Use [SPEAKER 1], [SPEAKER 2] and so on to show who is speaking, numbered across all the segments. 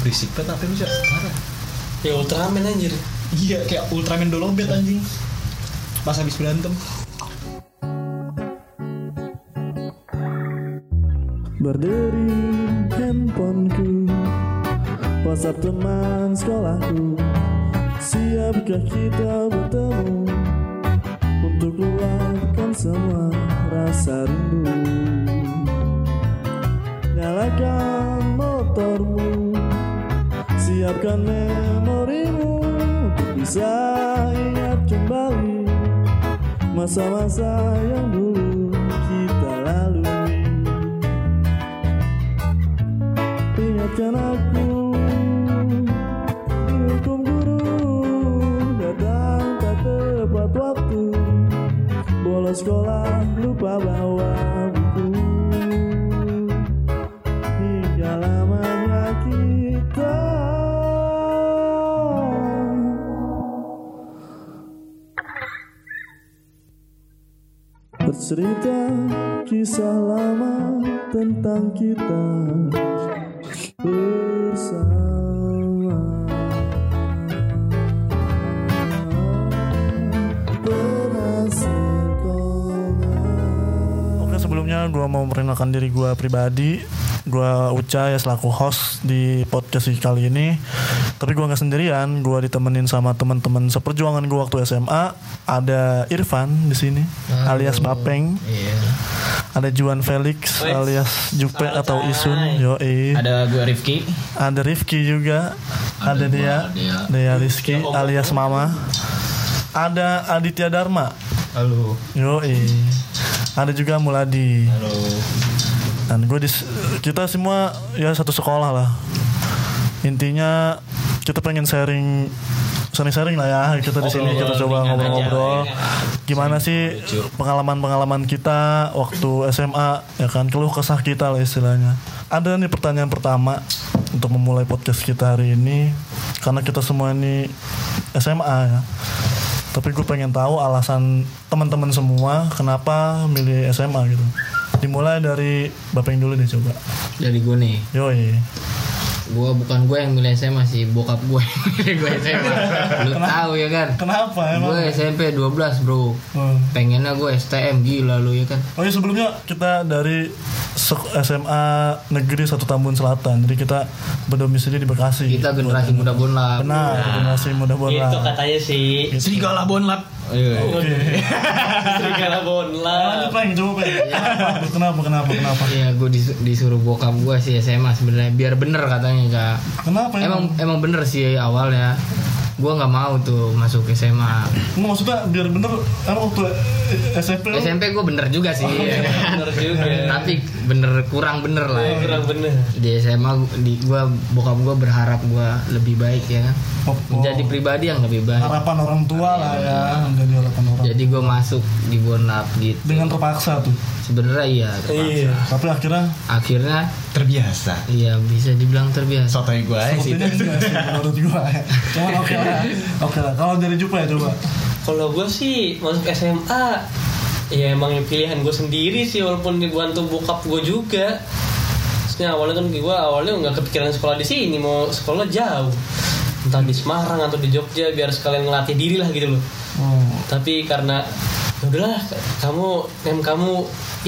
[SPEAKER 1] berisik banget apa lu sih parah
[SPEAKER 2] Ya Ultraman anjir.
[SPEAKER 1] iya kayak Ultraman dolobet anjing pas habis berantem
[SPEAKER 3] Berdiri handphoneku WhatsApp teman sekolahku Siapkah kita bertemu Untuk luapkan semua rasa rindu Nyalakan motormu Siapkan memorimu Untuk bisa ingat kembali Masa-masa yang dulu kita lalui Ingatkan aku Dihukum guru Datang tak tepat waktu Bolos sekolah lupa bawa buku Hingga lamanya kita Bercerita kisah lama tentang kita bersama Oke sebelumnya gue mau memperkenalkan diri gue pribadi Gue Uca ya selaku host di podcast ini kali ini Tapi gue gak sendirian Gue ditemenin sama teman-teman seperjuangan gue waktu SMA Ada Irfan di sini Alias Papeng
[SPEAKER 4] Iya.
[SPEAKER 3] Ada Juan Felix
[SPEAKER 2] Wes.
[SPEAKER 3] alias Jupe
[SPEAKER 2] Salah,
[SPEAKER 3] atau
[SPEAKER 2] Cai.
[SPEAKER 3] Isun Yoi
[SPEAKER 4] Ada gue Rifki.
[SPEAKER 3] ada Rifki juga, ada, dia,
[SPEAKER 4] Dea.
[SPEAKER 3] Dea Rizky
[SPEAKER 2] Om.
[SPEAKER 3] alias Mama, ada Aditya Dharma,
[SPEAKER 1] halo
[SPEAKER 3] yoi, ada juga Muladi,
[SPEAKER 1] halo
[SPEAKER 3] dan gue dis kita semua ya satu sekolah lah, intinya kita pengen sharing sharing-sharing lah ya kita di sini kita coba ngobrol-ngobrol gimana sih pengalaman-pengalaman kita waktu SMA ya kan keluh kesah kita lah istilahnya ada nih pertanyaan pertama untuk memulai podcast kita hari ini karena kita semua ini SMA ya tapi gue pengen tahu alasan teman-teman semua kenapa milih SMA gitu dimulai dari bapak yang dulu deh coba
[SPEAKER 4] Dari gue nih.
[SPEAKER 3] yoi
[SPEAKER 4] Gue bukan gue yang milih SMA sih, bokap gue. gue SMA. Lu tahu ya kan?
[SPEAKER 3] kenapa emang
[SPEAKER 4] Gue SMP 12, Bro.
[SPEAKER 3] Hmm.
[SPEAKER 4] Pengennya gue STM gila lu ya kan.
[SPEAKER 3] Oh iya sebelumnya kita dari sek- SMA Negeri Satu Tambun Selatan. Jadi kita berdomisili di Bekasi.
[SPEAKER 4] Kita generasi muda Iya. bonlap.
[SPEAKER 3] benar, generasi muda
[SPEAKER 2] Itu
[SPEAKER 3] bola.
[SPEAKER 2] katanya sih.
[SPEAKER 1] serigala bonlap
[SPEAKER 4] Iya.
[SPEAKER 3] Oke.
[SPEAKER 2] Serigala
[SPEAKER 3] Lanjut
[SPEAKER 2] bonlap.
[SPEAKER 3] lagi coba Peng. Kenapa kenapa kenapa?
[SPEAKER 4] Iya, gue dis- disuruh bokap gue sih SMA sebenarnya biar bener katanya, Kak.
[SPEAKER 3] Kenapa ya?
[SPEAKER 4] Emang emang bener sih awalnya. Gue nggak mau tuh masuk SMA.
[SPEAKER 3] Nggak, maksudnya biar bener emang waktu SMP lu- Oh,
[SPEAKER 4] SMP gue bener juga sih. ya kan?
[SPEAKER 2] Bener juga.
[SPEAKER 4] tapi bener kurang bener lah
[SPEAKER 3] Oh,
[SPEAKER 4] ya.
[SPEAKER 2] Kurang bener.
[SPEAKER 4] di SMA di gua bokap gua berharap gua lebih baik ya kan
[SPEAKER 3] Oh,
[SPEAKER 4] menjadi pribadi yang lebih baik
[SPEAKER 3] harapan orang tua lah ya, menjadi harapan orang.
[SPEAKER 4] jadi gua masuk di Bonlap gitu
[SPEAKER 3] Dengan terpaksa tuh.
[SPEAKER 4] sebenarnya iya terpaksa.
[SPEAKER 2] Iya.
[SPEAKER 3] Tapi akhirnya
[SPEAKER 4] akhirnya
[SPEAKER 1] terbiasa
[SPEAKER 4] iya bisa dibilang terbiasa
[SPEAKER 1] sotoy gue
[SPEAKER 5] Eh,
[SPEAKER 1] aja sih
[SPEAKER 3] sepertinya enggak sih menurut gua. ya. Cuman oke lah. Oke lah. Kalau dari Jupa ya coba.
[SPEAKER 2] Kalau gue sih masuk SMA ya emang pilihan gue sendiri sih walaupun dibantu bokap gue juga. Terusnya awalnya kan gue awalnya nggak kepikiran sekolah di sini mau sekolah jauh entah di Semarang atau di Jogja biar sekalian ngelatih diri lah gitu loh.
[SPEAKER 3] Oh,
[SPEAKER 2] Tapi karena "Ya udahlah kamu nem kamu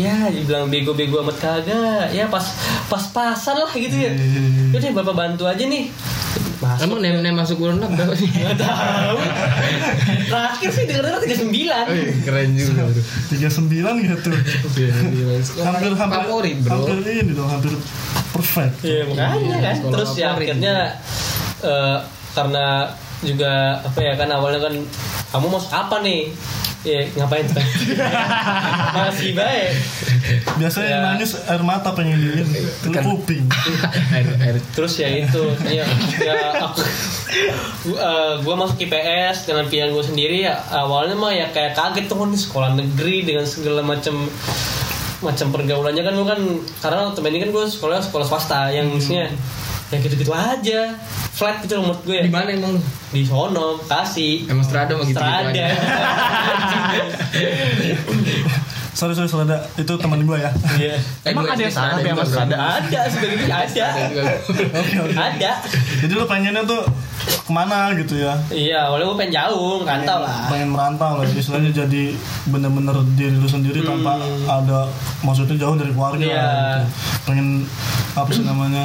[SPEAKER 2] ya dibilang bego-bego amat kagak ya pas pas pasan lah gitu ya. Udah deh, bapak bantu aja nih. Masuk
[SPEAKER 4] emang nem nem masuk Bonlap berapa sih
[SPEAKER 2] Gak tahu. Terakhir sih dengar tiga sembilan.
[SPEAKER 4] Oh, keren juga bro
[SPEAKER 3] 39 gitu. hampir hampir
[SPEAKER 4] Iya, favorit bro
[SPEAKER 3] hampir ini dong hampir perfect
[SPEAKER 2] Iya makanya kan.
[SPEAKER 4] sekolah
[SPEAKER 2] Terus ya
[SPEAKER 4] favorit.
[SPEAKER 2] akhirnya eh, karena juga apa ya kan awalnya kan kamu mau apa nih? Ya ngapain tuh? Masih baik.
[SPEAKER 3] biasanya yang
[SPEAKER 2] Ya.
[SPEAKER 3] nangis air mata pengen dingin ke kuping
[SPEAKER 4] air air
[SPEAKER 2] Terus ya itu ya, ya aku gua, eh, gua masuk IPS dengan pilihan gue sendiri ya awalnya mah ya kayak kaget tuh nih sekolah negeri dengan segala macam macam pergaulannya kan gue kan karena temen ini kan gue sekolah sekolah swasta yang
[SPEAKER 4] Hmm.
[SPEAKER 2] isinya ya gitu-gitu aja flat gitu loh menurut gue ya.
[SPEAKER 4] di mana emang lu?
[SPEAKER 2] di sono kasih
[SPEAKER 4] emang strada mah gitu gitu
[SPEAKER 2] Strada.
[SPEAKER 4] aja
[SPEAKER 3] sorry sorry selada itu teman gue ya
[SPEAKER 2] Iya. Emang
[SPEAKER 4] gua
[SPEAKER 2] ada yang
[SPEAKER 4] SD
[SPEAKER 2] salah ya
[SPEAKER 4] juga
[SPEAKER 2] mas?
[SPEAKER 4] gua.
[SPEAKER 2] Ada, ada sebenarnya ada.
[SPEAKER 4] Ada juga gua.
[SPEAKER 3] Oke, oke.
[SPEAKER 2] Ada.
[SPEAKER 3] jadi lu pengennya tuh kemana gitu ya
[SPEAKER 2] Iya, walau gue pengen jauh, nggak
[SPEAKER 4] Iya.
[SPEAKER 2] tahu lah.
[SPEAKER 3] pengen merantau lah istilahnya jadi bener-bener diri lu sendiri tanpa ada maksudnya jauh dari keluarga
[SPEAKER 2] Iya.
[SPEAKER 3] lah gitu. pengen apa sih namanya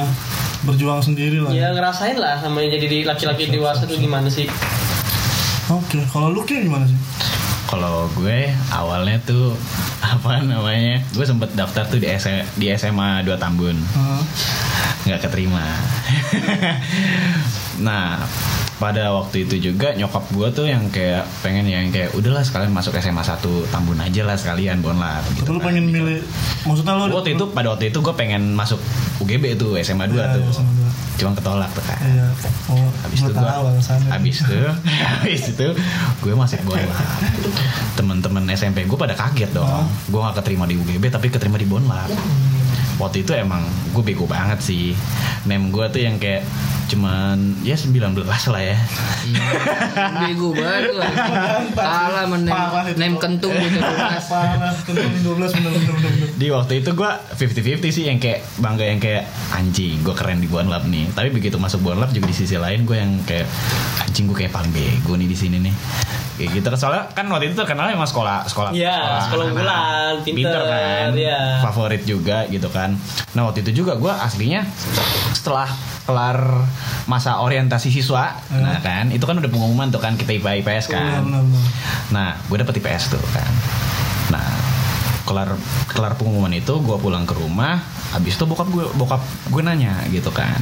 [SPEAKER 3] berjuang sendiri lah
[SPEAKER 2] Ya ngerasain lah sama yang jadi di- laki-laki dewasa tuh gimana sih?
[SPEAKER 3] oke kalau lu kayak gimana sih
[SPEAKER 5] Kalau gue awalnya tuh apa namanya? Gue sempet daftar tuh di SMA, di SMA 2 Tambun.
[SPEAKER 3] Heeh.
[SPEAKER 5] nggak keterima. nah, pada waktu itu juga nyokap gue tuh yang kayak pengen ya, yang kayak udahlah sekalian masuk SMA 1 Tambun aja lah sekalian bonlar
[SPEAKER 3] tapi
[SPEAKER 5] gitu.
[SPEAKER 3] lu
[SPEAKER 5] kan.
[SPEAKER 3] pengen milih maksudnya lu
[SPEAKER 5] Waktu itu pada waktu itu gue pengen masuk UGB tuh SMA 2
[SPEAKER 3] Iya,
[SPEAKER 5] tuh.
[SPEAKER 3] SMA 2.
[SPEAKER 5] Cuman ketolak tuh kan.
[SPEAKER 3] iya oh
[SPEAKER 5] Habis
[SPEAKER 3] gua
[SPEAKER 5] itu
[SPEAKER 3] tahu
[SPEAKER 5] gue
[SPEAKER 3] alasannya.
[SPEAKER 5] Habis itu Habis itu Gue masuk Bonlab Temen-temen SMP gue pada kaget dong Gue gak keterima di UGB Tapi keterima di Bonlab Waktu itu emang Gue bego banget sih Name gue tuh yang kayak Cuman Ya 19 lah ya
[SPEAKER 4] Bego banget lu. Salah menem
[SPEAKER 3] Parah itu.
[SPEAKER 4] nem kentung gitu.
[SPEAKER 3] parah tentang 12 bener bener bener bener.
[SPEAKER 5] Di waktu itu gue 50-50 sih Yang kayak Bangga yang kayak Anjing gue keren di Bonlab nih Tapi begitu masuk Bonlab Juga di sisi lain Gue yang kayak Anjing gue kayak paling bego nih di sini nih Kayak gitu Soalnya kan waktu itu terkenal emang sekolah Sekolah
[SPEAKER 2] Iya, sekolah
[SPEAKER 5] anak-anak.
[SPEAKER 2] unggulan, pinter,
[SPEAKER 5] pinter kan
[SPEAKER 2] iya.
[SPEAKER 5] favorit juga gitu kan nah waktu itu juga gue aslinya setelah kelar masa orientasi siswa
[SPEAKER 2] Hmm.
[SPEAKER 5] nah kan itu kan udah pengumuman tuh kan kita IPA IPS
[SPEAKER 3] Bener,
[SPEAKER 5] kan
[SPEAKER 3] bener, bener.
[SPEAKER 5] nah gue dapet IPS tuh kan nah kelar kelar pengumuman itu gue pulang ke rumah habis itu bokap gue bokap gue nanya gitu kan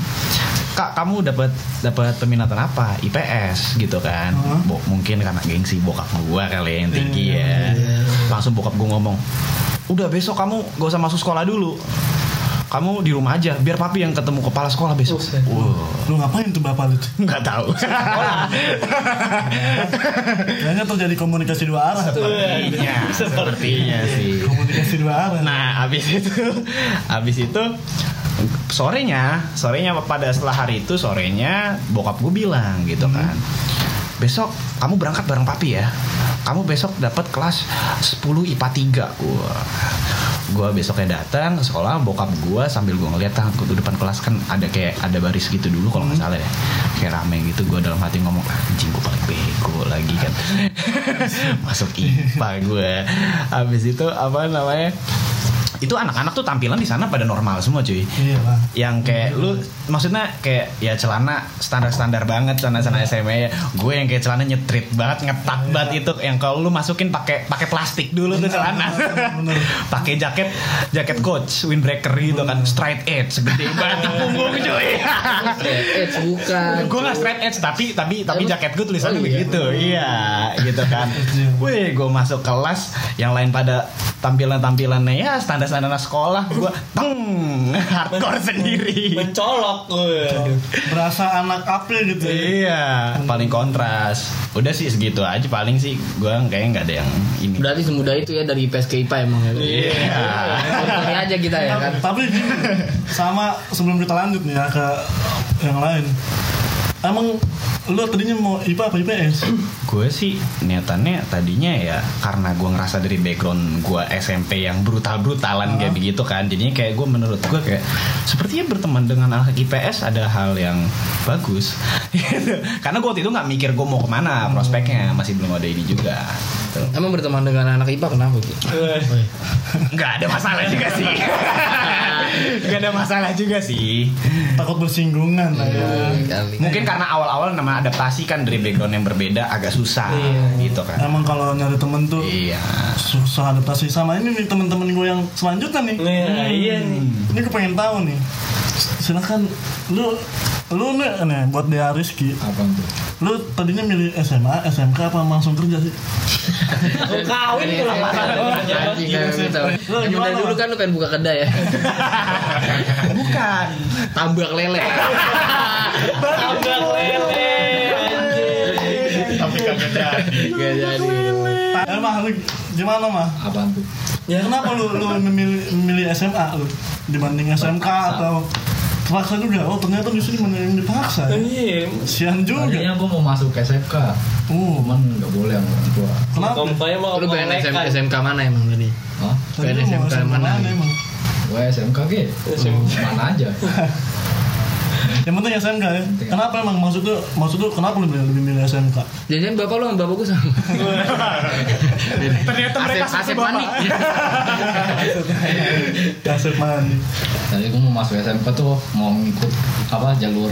[SPEAKER 5] kak kamu dapat dapat peminatan apa IPS gitu kan
[SPEAKER 3] Heeh.
[SPEAKER 5] Bo- mungkin karena gengsi bokap gue kali ya yang tinggi ya langsung bokap gue ngomong udah besok kamu gak usah masuk sekolah dulu kamu di rumah aja biar papi yang ketemu kepala sekolah besok
[SPEAKER 2] Buset.
[SPEAKER 5] Wah,
[SPEAKER 3] lu ngapain tuh bapak lu tuh
[SPEAKER 5] nggak tahu
[SPEAKER 3] kayaknya terjadi komunikasi dua arah
[SPEAKER 5] sepertinya sepertinya sih
[SPEAKER 3] komunikasi dua arah
[SPEAKER 5] Nah, abis itu, abis itu sorenya, sorenya pada setelah hari itu sorenya bokap gue bilang gitu kan. Besok kamu berangkat bareng papi ya. Kamu besok dapat kelas 10 IPA 3 gua. Gua besoknya datang ke sekolah bokap gua sambil gua ngeliat tangan gua di depan kelas kan ada kayak ada baris gitu dulu kalau nggak salah ya. Kayak rame gitu gua dalam hati ngomong anjing gua paling bego lagi kan. Masuk IPA gua. Abis itu apa namanya? Itu anak-anak tuh tampilan di sana pada normal semua cuy
[SPEAKER 3] iya lah
[SPEAKER 5] yang kayak lu maksudnya kayak ya celana standar-standar banget celana-celana SMA ya. Gue yang kayak celana nyetrit banget, ngetat
[SPEAKER 3] Iya.
[SPEAKER 5] banget itu yang kalau lu masukin pakai pakai plastik dulu tuh celana.
[SPEAKER 3] bener.
[SPEAKER 5] pakai jaket jaket coach windbreaker gitu kan straight edge segede banget di punggung cuy.
[SPEAKER 4] Eh, bukan.
[SPEAKER 5] gue gak straight edge tapi tapi tapi
[SPEAKER 4] Emang?
[SPEAKER 5] jaket gue tulisannya
[SPEAKER 4] Oh, iya.
[SPEAKER 5] begitu iya gitu kan wih gue masuk kelas yang lain pada tampilan tampilannya ya standar standar sekolah gue teng hardcore sendiri
[SPEAKER 2] Mencolok Oh, iya. gue.
[SPEAKER 3] berasa anak apel gitu ya
[SPEAKER 5] Iya, paling kontras. Udah sih segitu aja paling sih gue kayaknya nggak ada yang ini.
[SPEAKER 4] Berarti semudah itu ya dari IPS ke IPA emang ya.
[SPEAKER 5] Iya.
[SPEAKER 4] Sorry aja kita ya kan.
[SPEAKER 3] Tapi- Tapi gini, sama sebelum kita lanjut nih ya ke yang lain. Emang lu tadinya mau IPA apa IPS?
[SPEAKER 5] Gue sih niatannya tadinya ya karena gue ngerasa dari background gue SMP yang brutal-brutalan kayak begitu kan. Jadinya kayak gue menurut gue kayak sepertinya berteman dengan anak IPS ada hal yang bagus. Gitu. karena gue waktu itu nggak mikir gue mau kemana prospeknya masih belum ada ini juga. Gitu.
[SPEAKER 4] Emang berteman dengan anak IPA kenapa Ki?
[SPEAKER 2] Eh,
[SPEAKER 5] Nggak ada masalah juga sih. Nggak ada masalah juga sih.
[SPEAKER 3] Takut bersinggungan lah ya.
[SPEAKER 4] Iya. Kali.
[SPEAKER 5] Mungkin karena awal-awal nama adaptasi kan dari background yang berbeda agak susah gitu kan.
[SPEAKER 3] Emang kalau nyari temen tuh
[SPEAKER 5] Iya.
[SPEAKER 3] susah adaptasi sama ini nih temen-temen gue yang selanjutnya nih. Hmm.
[SPEAKER 2] Nah, iya nih.
[SPEAKER 3] Ini gue pengen tahu nih. Silakan lu lu nih, nih buat dia Rizky.
[SPEAKER 6] Apa tuh?
[SPEAKER 3] Lu tadinya milih SMA, SMK apa langsung kerja sih?
[SPEAKER 2] Lu kawin tuh lah
[SPEAKER 4] Iya,
[SPEAKER 2] Iya,
[SPEAKER 4] Anjing, kan, betul.
[SPEAKER 3] Lu
[SPEAKER 4] Emang
[SPEAKER 3] gimana?
[SPEAKER 4] dari dulu kan lu pengen buka kedai ya.
[SPEAKER 5] Bukan.
[SPEAKER 4] Tambak lele.
[SPEAKER 2] Tambah lele. anjing.
[SPEAKER 6] Tapi kagak jadi.
[SPEAKER 4] Gak jadi.
[SPEAKER 3] Ya, mah lu gimana mah?
[SPEAKER 6] Apa tuh?
[SPEAKER 3] Ya kenapa lu lu memilih, memilih SMA lu dibanding SMK atau Terpaksa juga. Oh ternyata justru mana yang dipaksa. ya.
[SPEAKER 2] Iya,
[SPEAKER 3] Sian juga.
[SPEAKER 6] Tadinya gue mau masuk ke SMK,
[SPEAKER 3] Uh,
[SPEAKER 6] cuman nggak boleh sama orang tua.
[SPEAKER 3] kenapa?
[SPEAKER 2] kampanye mau
[SPEAKER 4] Lu pengen SM,
[SPEAKER 2] menekan.
[SPEAKER 4] SMK mana emang tadi?
[SPEAKER 6] Hah?
[SPEAKER 3] Tadi lu
[SPEAKER 4] SMK
[SPEAKER 3] mau SMK
[SPEAKER 4] mana?
[SPEAKER 3] mana emang?
[SPEAKER 6] Gue SMK ge,
[SPEAKER 2] SMK.
[SPEAKER 6] mana Hmm, aja.
[SPEAKER 3] Yang penting SMK ya. Kenapa emang maksud lu maksud lu kenapa lu lebih milih SMK?
[SPEAKER 4] Jangan bapak lu sama bapak gue sama.
[SPEAKER 5] Ternyata mereka
[SPEAKER 4] Asep,
[SPEAKER 5] satu
[SPEAKER 4] Asep
[SPEAKER 5] bapak.
[SPEAKER 4] panik.
[SPEAKER 3] Dasar mandi.
[SPEAKER 6] Tadi gue mau masuk SMK tuh mau ngikut apa jalur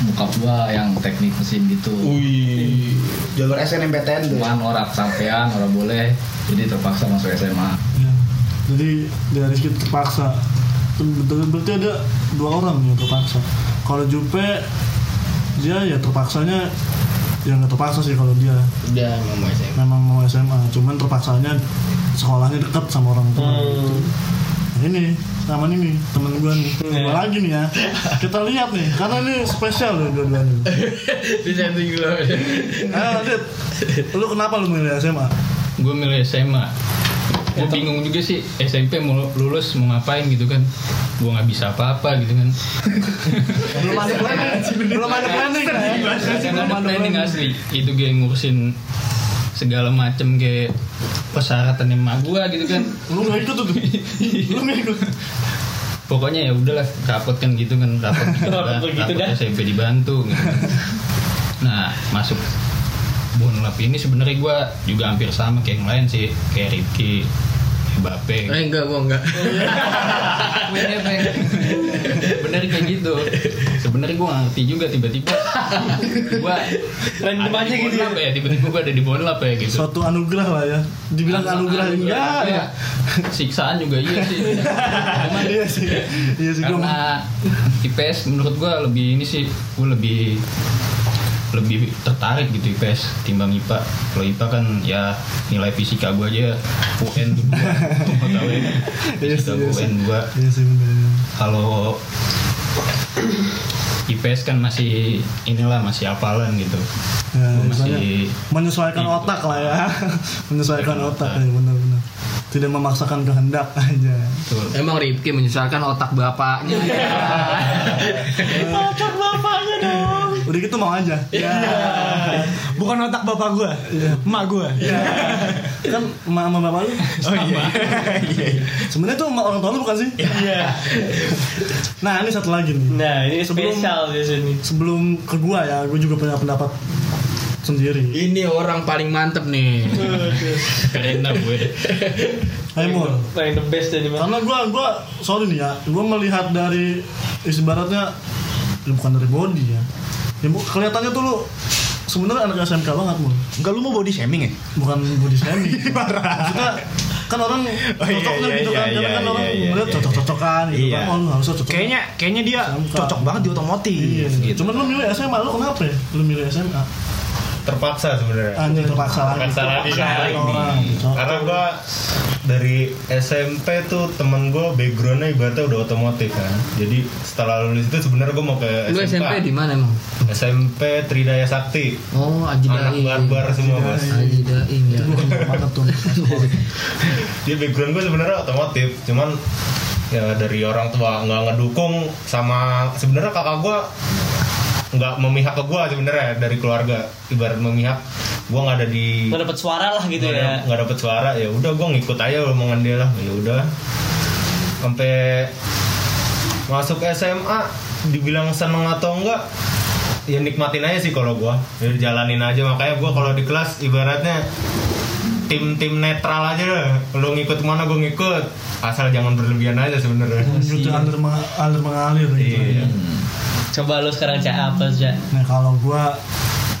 [SPEAKER 6] muka gua yang teknik mesin gitu.
[SPEAKER 5] Wih, jalur SNMPTN tuh.
[SPEAKER 6] Cuman orang sampean, orang boleh, jadi terpaksa masuk SMA.
[SPEAKER 3] Ya. Jadi dari situ terpaksa. Betul berarti ada dua orang yang terpaksa. Kalau Jupe dia ya terpaksanya ya nggak terpaksa sih kalau dia
[SPEAKER 4] Udah emang mau SM.
[SPEAKER 3] memang mau SMA cuman terpaksanya sekolahnya deket sama orang tua
[SPEAKER 2] Hmm.
[SPEAKER 3] Nah, ini sama ini nih temen gue nih
[SPEAKER 2] Iya.
[SPEAKER 3] Gua lagi nih ya kita lihat nih karena ini spesial loh dua-duanya
[SPEAKER 4] Di setting lu.
[SPEAKER 3] eh Dit lu kenapa lu milih SMA
[SPEAKER 7] gue milih SMA gue bingung juga sih SMP mau lulus mau ngapain gitu kan gue nggak bisa apa-apa gitu kan
[SPEAKER 3] belum ada planning belum ada planning ya
[SPEAKER 7] Karena ada planning
[SPEAKER 3] kan?
[SPEAKER 7] asli itu gue ngurusin segala macem kayak persyaratan emak gue gitu kan
[SPEAKER 3] lu nggak ikut tuh Dit. lu nggak ikut
[SPEAKER 7] pokoknya ya udahlah rapot kan gitu kan rapot gitu
[SPEAKER 2] Rapot
[SPEAKER 7] kan
[SPEAKER 2] begitu dah.
[SPEAKER 7] rapot SMP dibantu gitu kan. nah masuk Bonlap ini sebenarnya gue juga hampir sama kayak yang lain sih kayak Ricky kayak Bape
[SPEAKER 4] Eh enggak, gua enggak.
[SPEAKER 7] Bener, Peng. Bener kayak gitu. Sebenarnya gue ngerti juga tiba-tiba gue
[SPEAKER 2] Random aja gitu ya?
[SPEAKER 7] ya. Tiba-tiba gue ada di Bonlap ya gitu.
[SPEAKER 3] suatu anugerah lah ya dibilang anugerah enggak ya
[SPEAKER 7] Siksaan juga iya sih. Cuman
[SPEAKER 3] iya sih iya sih gue
[SPEAKER 7] karena IPS menurut gue lebih ini sih gue lebih lebih tertarik gitu IPS timbang IPA kalau IPA kan ya nilai fisika gue aja UN tuh gue tahu ya
[SPEAKER 3] Iya
[SPEAKER 7] fisika
[SPEAKER 3] sih, iya sih.
[SPEAKER 7] UN gue
[SPEAKER 3] iya sih bener
[SPEAKER 7] kalau IPS kan masih inilah masih apalan gitu
[SPEAKER 3] Ya,
[SPEAKER 7] Gua
[SPEAKER 3] misalnya
[SPEAKER 7] masih
[SPEAKER 3] menyesuaikan
[SPEAKER 7] Gitu.
[SPEAKER 3] otak lah ya menyesuaikan
[SPEAKER 7] Menyesuaikan
[SPEAKER 3] otak
[SPEAKER 7] otak.
[SPEAKER 3] ya benar-benar tidak memaksakan kehendak aja
[SPEAKER 7] betul
[SPEAKER 4] Emang Rifki menyesalkan otak bapaknya.
[SPEAKER 1] Otak bapaknya dong.
[SPEAKER 3] udah gitu mau aja ya
[SPEAKER 5] Bukan otak bapak gua,
[SPEAKER 3] Iya.
[SPEAKER 5] emak gua.
[SPEAKER 3] kan emak sama bapak lu
[SPEAKER 5] Oh iya. Iya, iya.
[SPEAKER 3] sebenarnya tuh emak orang tua lu bukan sih
[SPEAKER 2] Iya.
[SPEAKER 3] nah ini satu lagi nih
[SPEAKER 2] Nah, ini
[SPEAKER 3] Sebelum-
[SPEAKER 2] spesial di sini.
[SPEAKER 3] sebelum ke gua ya gua juga punya pendapat sendiri
[SPEAKER 4] Ini orang paling mantep nih.
[SPEAKER 7] keren lah gue
[SPEAKER 3] ayo Mul.
[SPEAKER 2] Paling the best dari mana?
[SPEAKER 3] karena gua gua sorry nih ya gua melihat dari ibaratnya ya bukan dari body ya, ya bu- kelihatannya tuh lu sebenarnya anak SMK banget mul
[SPEAKER 5] Enggak lu mau body shaming ya?
[SPEAKER 3] bukan body shaming maksudnya kan orang
[SPEAKER 5] iya,
[SPEAKER 3] cocoknya
[SPEAKER 5] iya,
[SPEAKER 3] gitu kan
[SPEAKER 5] iya,
[SPEAKER 3] karena kan
[SPEAKER 5] iya,
[SPEAKER 3] orang
[SPEAKER 5] iya,
[SPEAKER 3] melihat
[SPEAKER 5] iya.
[SPEAKER 3] cocok-cocokan gitu
[SPEAKER 5] Iya.
[SPEAKER 3] kan oh lu harusnya cocok
[SPEAKER 5] Kayaknya kayaknya dia
[SPEAKER 3] Sangka.
[SPEAKER 5] cocok banget di otomotif
[SPEAKER 3] Iya,
[SPEAKER 5] gitu.
[SPEAKER 3] Cuman lu milih SMA, lu kenapa ya? Lu milih SMA?
[SPEAKER 8] terpaksa sebenarnya
[SPEAKER 3] Anjir terpaksa lagi.
[SPEAKER 8] Terpaksa lagi.
[SPEAKER 3] Orang.
[SPEAKER 8] karena gua dari SMP tuh temen gua backgroundnya ibaratnya udah otomotif kan jadi setelah lulus itu sebenarnya gua mau ke
[SPEAKER 4] Lu
[SPEAKER 8] SMK
[SPEAKER 4] SMP di mana emang?
[SPEAKER 8] SMP Tridaya Sakti
[SPEAKER 4] Oh,
[SPEAKER 8] anak
[SPEAKER 4] Ajidai.
[SPEAKER 8] barbar semua bos
[SPEAKER 4] Ajidai ya.
[SPEAKER 3] Bukan banget tuh.
[SPEAKER 8] dia background gue sebenarnya otomotif cuman ya dari orang tua nggak ngedukung sama sebenarnya kakak gue nggak memihak ke gue sebenarnya dari keluarga ibarat memihak gue nggak ada di
[SPEAKER 2] Nggak dapat suara lah gitu
[SPEAKER 8] nggak ada-
[SPEAKER 2] ya.
[SPEAKER 8] nggak dapet suara ya udah gue ngikut aja omongan dia lah ya udah sampai masuk SMA dibilang seneng atau enggak ya nikmatin aja sih kalau gue ya jalanin aja makanya gue kalau di kelas ibaratnya tim-tim netral aja deh lo ngikut mana gue ngikut asal jangan berlebihan aja sebenarnya
[SPEAKER 3] Gitu alir meng- alir mengalir gitu.
[SPEAKER 8] iya
[SPEAKER 2] Coba lu sekarang cak apa sih?
[SPEAKER 3] Nah kalau gua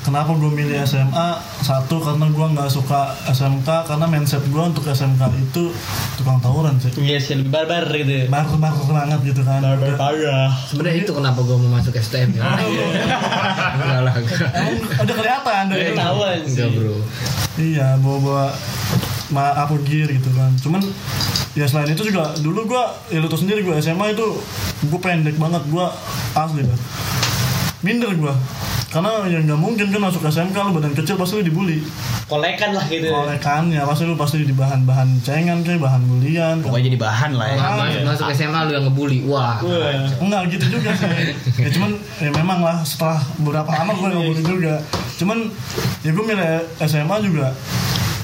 [SPEAKER 3] Kenapa gue milih SMA? Satu karena gua nggak suka SMK karena mindset gua untuk SMK itu tukang tawuran sih.
[SPEAKER 2] Iya sih, lebih barbar gitu.
[SPEAKER 3] Barbar banget gitu kan.
[SPEAKER 2] Barbar parah.
[SPEAKER 4] Sebenarnya itu kenapa gua mau masuk STM ya.
[SPEAKER 3] Ah, iya.
[SPEAKER 4] Enggak lah, enggak.
[SPEAKER 3] Udah kelihatan dari
[SPEAKER 2] Udah ketahuan
[SPEAKER 4] Eh, Enggak,
[SPEAKER 2] sih.
[SPEAKER 4] Bro.
[SPEAKER 3] Iya, bawa-bawa ma apa gear gitu kan. Cuman ya selain itu juga dulu gua ya lu tau sendiri gua SMA itu gua pendek banget gua asli dah. Minder gua. Karena ya nggak mungkin kan masuk SMK lu badan kecil pasti lu dibully.
[SPEAKER 2] kolekan lah gitu
[SPEAKER 3] kolekan ya pasti lu pasti di bahan-bahan cengan kayak bahan bulian kan?
[SPEAKER 5] Pokoknya jadi bahan lah ya.
[SPEAKER 4] Kalau masuk, masuk SMA lu yang ngebully. Wah.
[SPEAKER 3] Enggak gitu juga sih. ya cuman ya memang lah setelah beberapa lama gue nggak boleh juga. Cuman ya gue milih SMA juga.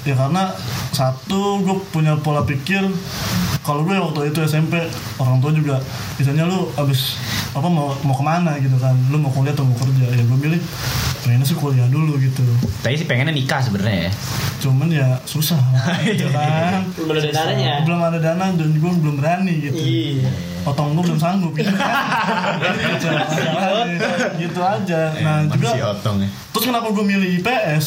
[SPEAKER 3] Ya karena satu gue punya pola pikir kalau gue waktu itu SMP orang tua juga misalnya lu abis apa mau mau kemana gitu kan lu mau kuliah atau mau kerja ya gue milih pengennya sih kuliah dulu gitu
[SPEAKER 5] Tadi sih pengennya nikah sebenarnya ya.
[SPEAKER 3] cuman ya susah gitu kan
[SPEAKER 2] Iya. Belum ada dananya.
[SPEAKER 3] belum ada dana dan gue belum berani gitu
[SPEAKER 2] iya
[SPEAKER 3] potong gue belum sanggup gitu Gitu, masalahnya. gitu aja nah
[SPEAKER 5] Emang
[SPEAKER 3] juga
[SPEAKER 5] si Iya, Otong ya.
[SPEAKER 3] terus kenapa gue milih IPS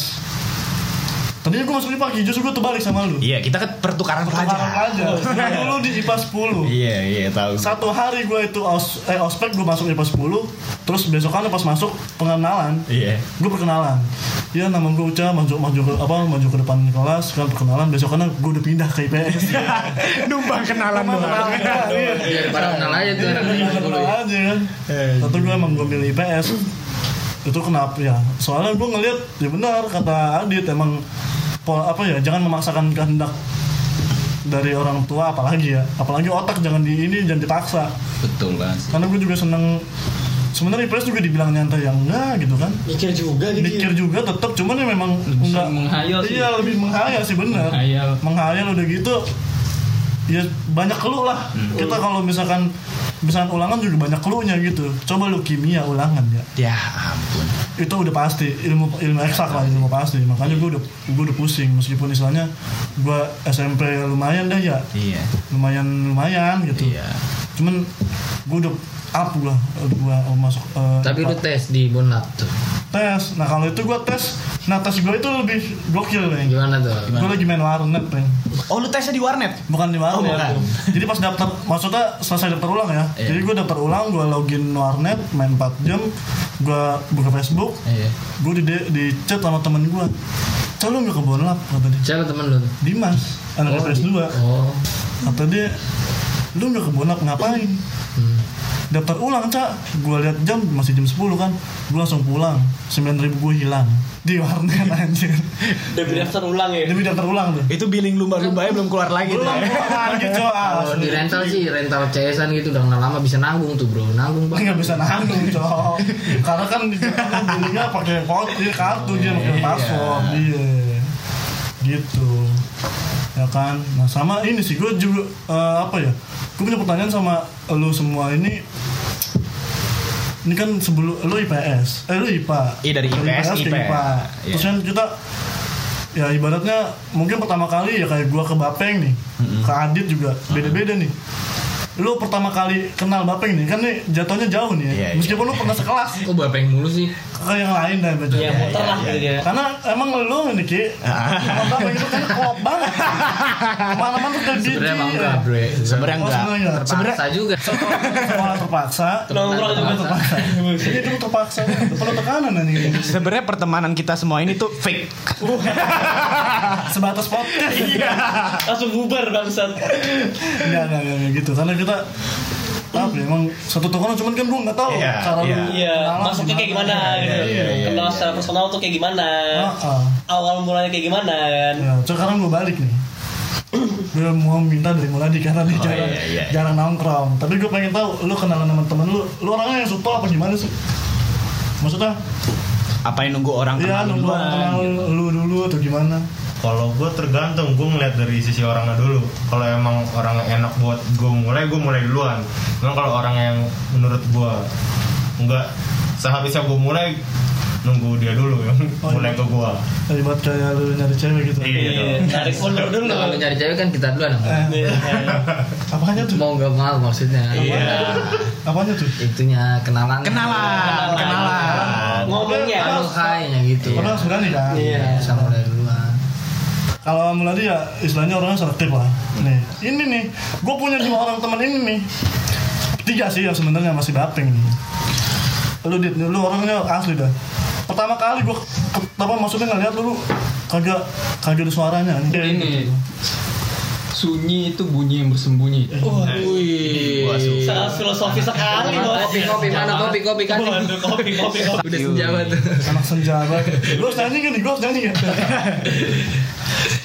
[SPEAKER 3] tadinya gue masuk IPA justru gue terbalik sama lu
[SPEAKER 5] Iya, kita kan pertukaran
[SPEAKER 3] Tukaran
[SPEAKER 5] pelajar.
[SPEAKER 3] aja dulu di IPA 10
[SPEAKER 5] Iya, iya, tahu.
[SPEAKER 3] satu hari gue itu aus, eh, ospek gue masuk IPA 10 terus besokannya pas masuk pengenalan
[SPEAKER 5] Iya.
[SPEAKER 3] gue perkenalan ya nama gue Uca maju maju ke apa maju ke depan kelas kan perkenalan besokannya gue udah pindah ke IPS
[SPEAKER 5] Numbang kenalan doang.
[SPEAKER 3] Iya.
[SPEAKER 4] Daripada kenal aja tuh anak
[SPEAKER 3] Iya, kenal aja kan. Tapi gue emang gue milih IPS. Itu kenapa ya? Soalnya gue ngeliat ya benar kata Adit emang pola apa ya? Jangan memaksakan kehendak dari orang tua apalagi ya apalagi otak jangan di ini jangan dipaksa
[SPEAKER 7] Betul banget.
[SPEAKER 3] karena gue juga seneng sebenarnya IPS juga dibilang nyantai yang enggak gitu kan
[SPEAKER 2] mikir juga gitu
[SPEAKER 3] mikir juga tetap cuman ya memang
[SPEAKER 7] Lebih
[SPEAKER 3] enggak
[SPEAKER 7] sering menghayal sih.
[SPEAKER 3] iya lebih menghayal sih benar
[SPEAKER 7] Menghayal.
[SPEAKER 3] menghayal udah gitu ya banyak keluh lah
[SPEAKER 7] Hmm.
[SPEAKER 3] kita kalau misalkan misalkan ulangan juga banyak keluhnya gitu coba lu kimia ulangan ya
[SPEAKER 5] Ya ampun.
[SPEAKER 3] itu udah pasti ilmu ilmu eksak lah ilmu pasti makanya gue udah gue udah pusing meskipun istilahnya gue SMP lumayan deh ya
[SPEAKER 5] Iya.
[SPEAKER 3] lumayan lumayan gitu
[SPEAKER 5] Iya.
[SPEAKER 3] cuman gue udah up lah gue masuk eh,
[SPEAKER 4] Tapi lu tes di Bonlab tuh.
[SPEAKER 3] tes nah kalau itu gue tes nah tes gue itu lebih gokil nih
[SPEAKER 4] Gimana tuh?
[SPEAKER 3] gue lagi main warnet nih
[SPEAKER 5] Oh, lu tesnya di warnet?
[SPEAKER 3] bukan di warnet
[SPEAKER 4] Oh,
[SPEAKER 5] bukan.
[SPEAKER 3] jadi pas daftar maksudnya selesai daftar ulang ya
[SPEAKER 5] Iya.
[SPEAKER 3] jadi gue daftar ulang gue login warnet main 4 jam gue buka Facebook
[SPEAKER 5] Iya.
[SPEAKER 3] gue di, di chat sama temen gue Cah lu gak ke Bonlap kata dia
[SPEAKER 4] Siapa temen lu tuh?
[SPEAKER 3] Dimas anak
[SPEAKER 4] Oh,
[SPEAKER 3] IPS 2
[SPEAKER 4] Oh.
[SPEAKER 3] kata dia lu nggak ke Bonap ngapain
[SPEAKER 4] Hmm.
[SPEAKER 3] daftar ulang cak gue lihat jam masih jam 10 kan gue langsung pulang 9000 ribu gue hilang di warnet anjir
[SPEAKER 2] demi daftar ulang ya
[SPEAKER 3] demi daftar ulang tuh
[SPEAKER 5] Itu billing lumba-lumbanya belum keluar lagi. ya.
[SPEAKER 3] belum pulang gitu ah
[SPEAKER 4] Kalau Iya. Oh, di rental sih rental CS-an gitu udah kenal lama bisa nanggung tuh bro nanggung banget
[SPEAKER 3] nggak bisa nanggung cok karena kan di Jakarta belinya pakai kartu dia kartu dia pakai
[SPEAKER 5] iya.
[SPEAKER 3] password iya gitu ya kan nah sama ini sih gue juga eh, apa ya gue punya pertanyaan sama lu semua ini ini kan sebelum lu IPS eh lu IPA
[SPEAKER 5] Iya, dari IPS,
[SPEAKER 3] ke
[SPEAKER 5] IPA.
[SPEAKER 3] IPA
[SPEAKER 5] Iya.
[SPEAKER 3] terus kan kita ya ibaratnya mungkin pertama kali ya kayak gua ke Bapeng nih ke Adit juga beda-beda nih lu pertama kali kenal Bapeng nih kan nih jatuhnya jauh nih ya
[SPEAKER 5] Iya, iya.
[SPEAKER 3] meskipun lu pernah sekelas
[SPEAKER 4] kok bapeng mulu sih
[SPEAKER 3] ke yang lain dan
[SPEAKER 2] ya
[SPEAKER 4] Iya,
[SPEAKER 2] muter lah gitu ya
[SPEAKER 3] karena emang lu nih Ki Kalau Bapeng itu kan klop banget Mana-mana tuh dari
[SPEAKER 4] sebenarnya emang
[SPEAKER 3] biji,
[SPEAKER 4] enggak
[SPEAKER 3] ya.
[SPEAKER 4] bro
[SPEAKER 5] Sebenarnya
[SPEAKER 3] Oh,
[SPEAKER 5] enggak.
[SPEAKER 3] sebenarnya.
[SPEAKER 4] terpaksa juga
[SPEAKER 3] Sekolah terpaksa
[SPEAKER 2] nongkrong juga
[SPEAKER 3] terpaksa Iya, itu terpaksa perlu tekanan anjing
[SPEAKER 5] Sebenarnya pertemanan kita semua ini tuh fake.
[SPEAKER 3] sebatas podcast
[SPEAKER 4] Iya.
[SPEAKER 2] langsung bubar bangsat
[SPEAKER 3] Enggak, enggak, enggak, enggak gitu Karena kita apa ya, emang satu tongkrongan cuman kan gua nggak tahu
[SPEAKER 5] Iya,
[SPEAKER 3] cara
[SPEAKER 5] iya.
[SPEAKER 3] lu
[SPEAKER 2] iya
[SPEAKER 3] kenalan
[SPEAKER 2] masuknya kayak gimana gitu
[SPEAKER 5] iya, iya,
[SPEAKER 2] kenal secara personal tuh kayak gimana
[SPEAKER 3] Heeh.
[SPEAKER 2] awal mulanya kayak gimana kan
[SPEAKER 3] Ya, sekarang gue balik nih gue mau minta dari Muladi karena dia
[SPEAKER 5] Oh,
[SPEAKER 3] jarang,
[SPEAKER 5] iya, iya.
[SPEAKER 3] jarang nongkrong tapi gue pengen tahu lu kenalan sama temen lu lu orangnya yang supel apa gimana sih maksudnya
[SPEAKER 5] Apa yang nunggu orang
[SPEAKER 3] ya
[SPEAKER 5] kenal
[SPEAKER 3] nunggu
[SPEAKER 5] duluan?
[SPEAKER 3] orang kenal lu dulu atau gimana
[SPEAKER 8] Kalau gue tergantung, gue ngeliat dari sisi orangnya dulu. Kalau emang orangnya enak buat gue mulai, gue mulai duluan. Cuman kalau orang yang menurut gue enggak sehabisnya gue mulai nunggu dia dulu yang
[SPEAKER 3] Oh,
[SPEAKER 8] mulai
[SPEAKER 3] iya.
[SPEAKER 8] ke gue.
[SPEAKER 3] Ribet kayak lu nyari cewek gitu
[SPEAKER 8] Iya.
[SPEAKER 2] Iya, tarik ulur dulu
[SPEAKER 4] kalau nyari cewek kan kita duluan Bro.
[SPEAKER 3] eh,
[SPEAKER 2] Iya.
[SPEAKER 3] apanya tuh Iya.
[SPEAKER 4] mau nggak mau maksudnya
[SPEAKER 3] apanya tuh
[SPEAKER 4] itunya kenalan
[SPEAKER 5] Kenalan, kenalan.
[SPEAKER 2] ngomongnya
[SPEAKER 4] halo hai nya gitu
[SPEAKER 3] Karena harus berani kan
[SPEAKER 4] iya sama mulai duluan
[SPEAKER 3] kalau Muladi ya istilahnya orangnya selektif lah nih ini nih gue punya dua orang temen ini nih tiga sih yang sebenarnya masih bapeng nih lu dit lu orangnya asli dah pertama kali gue Gitu. apa maksudnya ngeliat lu, lu kagak kagak ada suaranya nih
[SPEAKER 7] Ini sunyi itu bunyi yang bersembunyi.
[SPEAKER 2] Wih, sangat filosofi sekali bos.
[SPEAKER 4] Iya. Kopi, kopi, mana kopi, kopi, Iya. kan?
[SPEAKER 1] Waduh, kopi, kopi, kopi.
[SPEAKER 4] Udah senjawa tuh.
[SPEAKER 3] anak senjata gue harus nyanyi kan nih gue harus nyanyi kan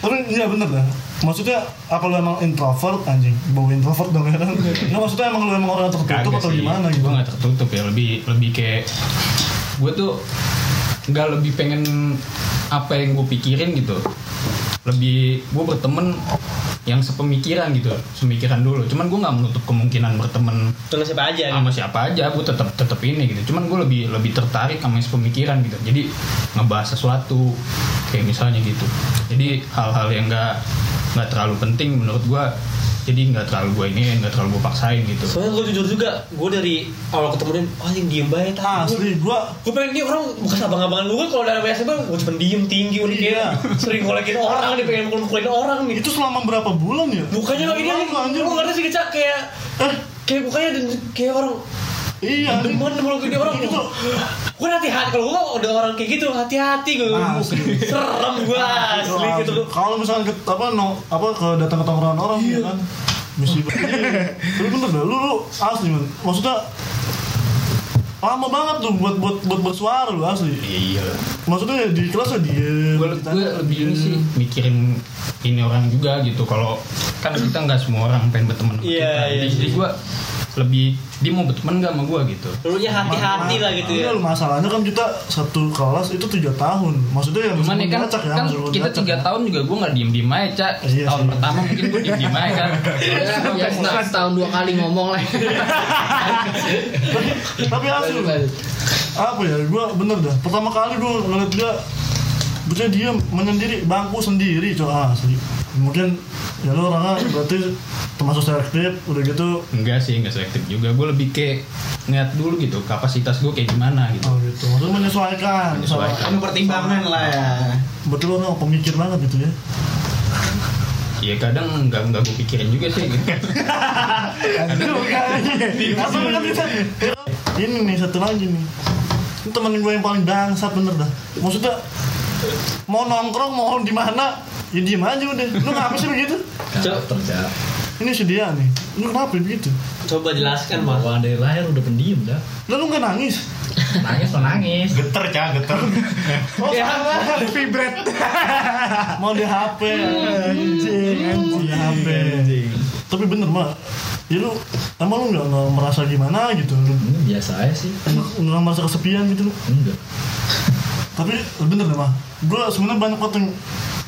[SPEAKER 3] tapi iya bener dah maksudnya apa lu emang introvert anjing bawa introvert dong ya nggak maksudnya emang lu emang orang tertutup atau gimana gitu
[SPEAKER 7] Gue nggak tertutup ya, lebih lebih kayak gue tuh nggak lebih pengen apa yang gue pikirin gitu. Lebih gue berteman yang sepemikiran gitu, semikiran dulu. Cuman gue nggak menutup kemungkinan berteman
[SPEAKER 2] Tunggu siapa aja gitu. nih?
[SPEAKER 7] Eh, sama siapa aja, gue tetap tetap ini gitu. Cuman gue lebih lebih tertarik sama yang sepemikiran gitu. Jadi ngebahas sesuatu kayak misalnya gitu. Jadi hal-hal yang nggak nggak terlalu penting menurut gue. Jadi nggak terlalu gue ini, nggak terlalu gue paksain gitu.
[SPEAKER 2] Soalnya gue jujur juga, gue dari awal ketemu dia, oh anjing diem banget
[SPEAKER 3] asli gue
[SPEAKER 2] Gue pengen dia orang bukan abang-abangan gue kalau dalam SMA gue cuma diem tinggi udah kayak
[SPEAKER 3] Iya.
[SPEAKER 2] sering ngolekin orang nih pengen mukul-mukulin orang nih.
[SPEAKER 3] itu selama berapa bulan ya Bulan
[SPEAKER 2] Mukanya kayak ini
[SPEAKER 3] lu, anjing
[SPEAKER 2] anjing, lu ngerti sih kecak kayak kayak mukanya dan- kayak orang
[SPEAKER 3] iya anjing.
[SPEAKER 2] Cuman kalau gini orang
[SPEAKER 3] Itu.
[SPEAKER 2] Gue hati-hati Kalau gue udah orang kayak gitu Hati-hati gue
[SPEAKER 3] Ah, Asli.
[SPEAKER 2] Serem gue Asli gitu
[SPEAKER 3] kalau misalnya ke- apa no apa ke datang ke tongkrongan orang ya kan misi tapi bener dah lu, lu asli man maksudnya lama banget tuh buat buat buat bersuara lu asli
[SPEAKER 7] Iya.
[SPEAKER 3] maksudnya di kelas ya diem
[SPEAKER 7] Gue gue lebih ini sih mikirin ini orang juga gitu. Kalau kan kita nggak semua orang pengen berteman sama
[SPEAKER 2] Iya,
[SPEAKER 7] kita.
[SPEAKER 2] iya,
[SPEAKER 7] Jadi- Jadi gue lebih dia mau berteman nggak sama gue gitu.
[SPEAKER 2] Lu nya hati-hati lah gitu ya
[SPEAKER 3] Iya, lu masalahnya kan kita satu kelas itu tiga tahun. Maksudnya ya
[SPEAKER 7] Cuman ya
[SPEAKER 3] meskipun
[SPEAKER 7] kan,
[SPEAKER 3] ngacak ya,
[SPEAKER 7] kan
[SPEAKER 3] meskipun
[SPEAKER 7] kita
[SPEAKER 3] ngacak
[SPEAKER 7] tiga
[SPEAKER 3] ya.
[SPEAKER 7] tahun juga gue nggak diem diem aja cak.
[SPEAKER 3] Iya
[SPEAKER 7] tahun
[SPEAKER 3] sih.
[SPEAKER 7] pertama mungkin gue diem diem aja kan.
[SPEAKER 4] Ya, ya, setahun dua kali ngomong lah.
[SPEAKER 3] Tapi asli apa ya? Gua bener dah. Pertama kali gua ngeliat dia Maksudnya dia menyendiri, bangku sendiri coba asli Mungkin ya lu orangnya berarti termasuk selektif udah gitu
[SPEAKER 7] Enggak sih, enggak selektif juga. Gue lebih kayak ngeliat dulu gitu kapasitas gue kayak gimana gitu.
[SPEAKER 3] Oh gitu, maksudnya menyesuaikan,
[SPEAKER 7] Menyesuaikan.
[SPEAKER 3] Sama-
[SPEAKER 5] Penuh pertimbangan lah ya.
[SPEAKER 3] Betul lu orang pemikir banget gitu ya
[SPEAKER 7] Iya kadang nggak nggak gue pikirin juga sih. Gitu.
[SPEAKER 3] Apa lu kan bisa- Ini nih satu lagi nih. Ini temen gue yang paling bangsat bener dah. Maksudnya mau nongkrong mau di mana ya diem aja udah. Lu ngapa sih begitu?
[SPEAKER 6] Karakter Cak.
[SPEAKER 3] Ini si dia nih. Lu kenapa begitu?
[SPEAKER 2] Coba jelaskan mas
[SPEAKER 6] Bawaan dari lahir udah pendiam dah.
[SPEAKER 3] Lah lu nggak nangis?
[SPEAKER 6] Nangis lo nangis.
[SPEAKER 8] Geter cah, geter.
[SPEAKER 3] Oh, salah. mau di HP anjing anjing di HP tapi bener mak ya lu emang lu nggak nggak merasa gimana gitu lu
[SPEAKER 6] Hmm, biasa aja sih.
[SPEAKER 3] nggak- nggak merasa kesepian gitu lu
[SPEAKER 6] Enggak.
[SPEAKER 3] tapi bener deh mah gue sebenarnya banyak waktu yang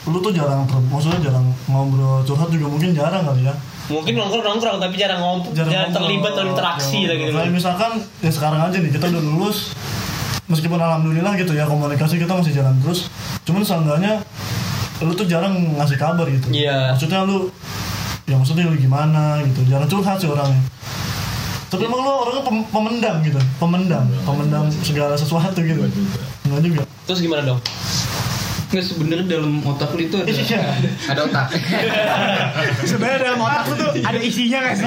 [SPEAKER 3] lu tuh jarang ter- maksudnya jarang ngobrol curhat juga mungkin jarang kali ya
[SPEAKER 2] Mungkin nongkrong-nongkrong Tapi jarang ngomong Jarang
[SPEAKER 3] ngobrol,
[SPEAKER 2] terlibat dalam
[SPEAKER 3] jarang
[SPEAKER 2] interaksi lah gitu
[SPEAKER 3] ngobrol. Kayak misalkan ya sekarang aja nih kita udah lulus meskipun alhamdulillah gitu ya komunikasi kita masih jalan terus cuman seenggaknya lu tuh jarang ngasih kabar gitu
[SPEAKER 2] Iya.
[SPEAKER 3] maksudnya lu ya maksudnya lu gimana gitu jarang curhat sih orangnya tapi emang lu orangnya pem- pemendam gitu pemendam pemendam segala sesuatu gitu
[SPEAKER 6] Enggak juga.
[SPEAKER 3] enggak juga
[SPEAKER 2] Terus gimana dong?
[SPEAKER 7] Nggak sebenarnya dalam otak lu itu ada
[SPEAKER 3] iya
[SPEAKER 4] Ada otak.
[SPEAKER 5] Sebenarnya dalam otak lu tuh ada isinya nggak sih?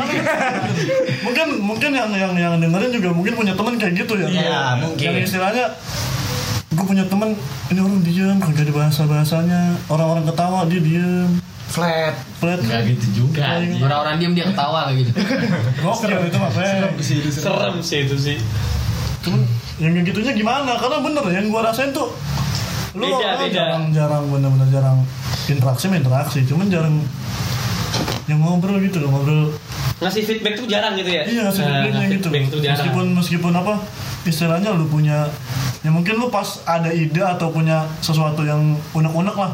[SPEAKER 3] mungkin mungkin yang yang yang dengerin juga mungkin punya teman kayak gitu ya
[SPEAKER 5] Iya,
[SPEAKER 3] Kalau
[SPEAKER 5] mungkin.
[SPEAKER 3] yang istilahnya gue punya teman ini orang diam kagak ada bahasa bahasanya orang-orang ketawa dia diam
[SPEAKER 5] Flat.
[SPEAKER 3] flat
[SPEAKER 6] Enggak gitu juga.
[SPEAKER 4] Iya,
[SPEAKER 6] anjing.
[SPEAKER 4] Orang-orang diem dia ketawa kayak gitu.
[SPEAKER 3] gokil itu maksudnya
[SPEAKER 2] Serem sih itu sih
[SPEAKER 3] cuman yang kayak gitunya gimana karena bener yang gue rasain tuh lu orang
[SPEAKER 2] Beda, beda.
[SPEAKER 3] jarang jarang bener-bener jarang interaksi mah interaksi cuman jarang yang ngobrol gitu loh ngobrol
[SPEAKER 2] Ngasih feedback tuh jarang gitu ya?
[SPEAKER 3] Iya hasil
[SPEAKER 2] Nah,
[SPEAKER 3] feedbacknya
[SPEAKER 2] ngasih
[SPEAKER 3] gitu
[SPEAKER 2] Feedback tuh jarang
[SPEAKER 3] Meskipun meskipun apa istilahnya lu punya ya mungkin lu pas ada ide atau punya sesuatu yang unek-unek lah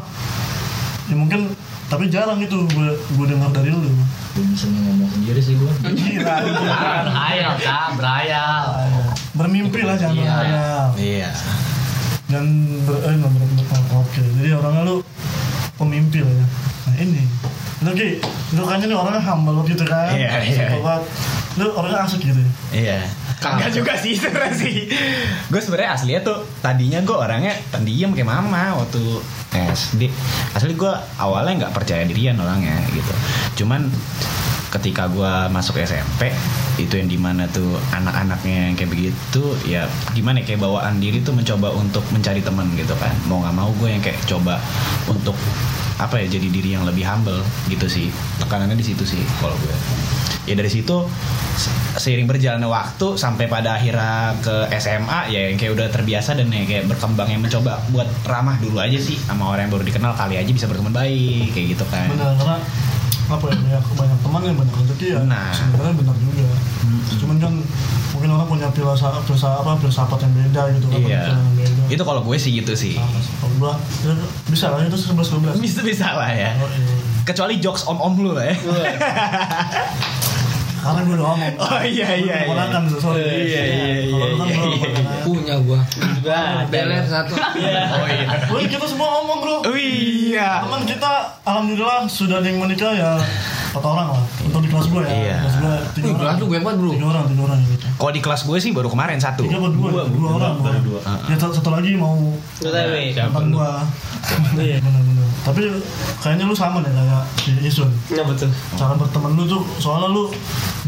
[SPEAKER 3] ya mungkin tapi jarang itu gue gue dengar dari lu
[SPEAKER 6] Belum bisa ngomong sendiri sih gua.
[SPEAKER 3] gila
[SPEAKER 4] Berayal, kak, berayal.
[SPEAKER 3] bermimpi lah jangan
[SPEAKER 4] Iya.
[SPEAKER 3] berhayal
[SPEAKER 5] Iya.
[SPEAKER 3] dan ber eh nggak ber- ber- oh, oke jadi orangnya lu pemimpi lah ya nah ini lu Ki, lu kayaknya nih orangnya humble gitu kan
[SPEAKER 5] Iya, iya.
[SPEAKER 3] Simple banget. lu orangnya asik gitu ya
[SPEAKER 5] Iya. Kagak juga sih sebenarnya sih. Gue sebenarnya aslinya tuh tadinya gue orangnya pendiam kayak mama waktu SD. Asli gue awalnya nggak percaya dirian orangnya gitu. Cuman ketika gue masuk SMP itu yang dimana tuh anak-anaknya yang kayak begitu ya gimana ya, kayak bawaan diri tuh mencoba untuk mencari teman gitu kan mau nggak mau gue yang kayak coba untuk apa ya jadi diri yang lebih humble gitu sih tekanannya di situ sih kalau gue ya dari situ se- seiring berjalannya waktu sampai pada akhirnya ke SMA ya yang kayak udah terbiasa dan ya kayak berkembang yang mencoba buat ramah dulu aja sih sama orang yang baru dikenal kali aja bisa berteman baik kayak gitu kan
[SPEAKER 3] benar karena apa ya banyak banyak teman dan banyak rezeki ya
[SPEAKER 5] Nah.
[SPEAKER 3] sebenarnya benar juga cuman kan mungkin orang punya filsafat filsafat apa filsafat yang beda gitu kan
[SPEAKER 5] Iya.
[SPEAKER 3] pemikiran yang beda
[SPEAKER 5] itu kalau gue sih gitu sih
[SPEAKER 3] Sama sih. kalau gua ya, bisa lah itu 11 12
[SPEAKER 5] bisa bisa lah ya
[SPEAKER 3] Oh, iya.
[SPEAKER 5] kecuali jokes om om lu lah ya
[SPEAKER 3] karena gue udah ngomong
[SPEAKER 5] Oh, iya, iya, iya.
[SPEAKER 3] ponakan tuh sorry
[SPEAKER 5] Iya, iya, iya,
[SPEAKER 3] Kalau lu kan
[SPEAKER 5] iya,
[SPEAKER 3] belum
[SPEAKER 5] iya.
[SPEAKER 3] ponakan.
[SPEAKER 4] punya gua
[SPEAKER 3] Iya.
[SPEAKER 2] Bah,
[SPEAKER 4] beler satu
[SPEAKER 5] oh iya
[SPEAKER 3] Woi, kita semua ngomong bro
[SPEAKER 5] oh iya
[SPEAKER 3] teman kita alhamdulillah sudah ada yang menikah ya empat orang lah untuk di kelas gue ya
[SPEAKER 5] Iya.
[SPEAKER 3] kelas gue tiga
[SPEAKER 4] Wih,
[SPEAKER 3] orang
[SPEAKER 4] kelas lu banyak banget, bro.
[SPEAKER 3] tiga orang tiga orang gitu
[SPEAKER 5] kalau di kelas gue sih baru kemarin satu
[SPEAKER 3] tiga buat dua dua orang baru dua ya satu satu lagi mau
[SPEAKER 2] Lu tahu nih.
[SPEAKER 3] tempat gua iya benar-benar tapi kayaknya lu sama deh kayak si Isun
[SPEAKER 2] Nah, betul.
[SPEAKER 3] cara berteman lu tuh soalnya lu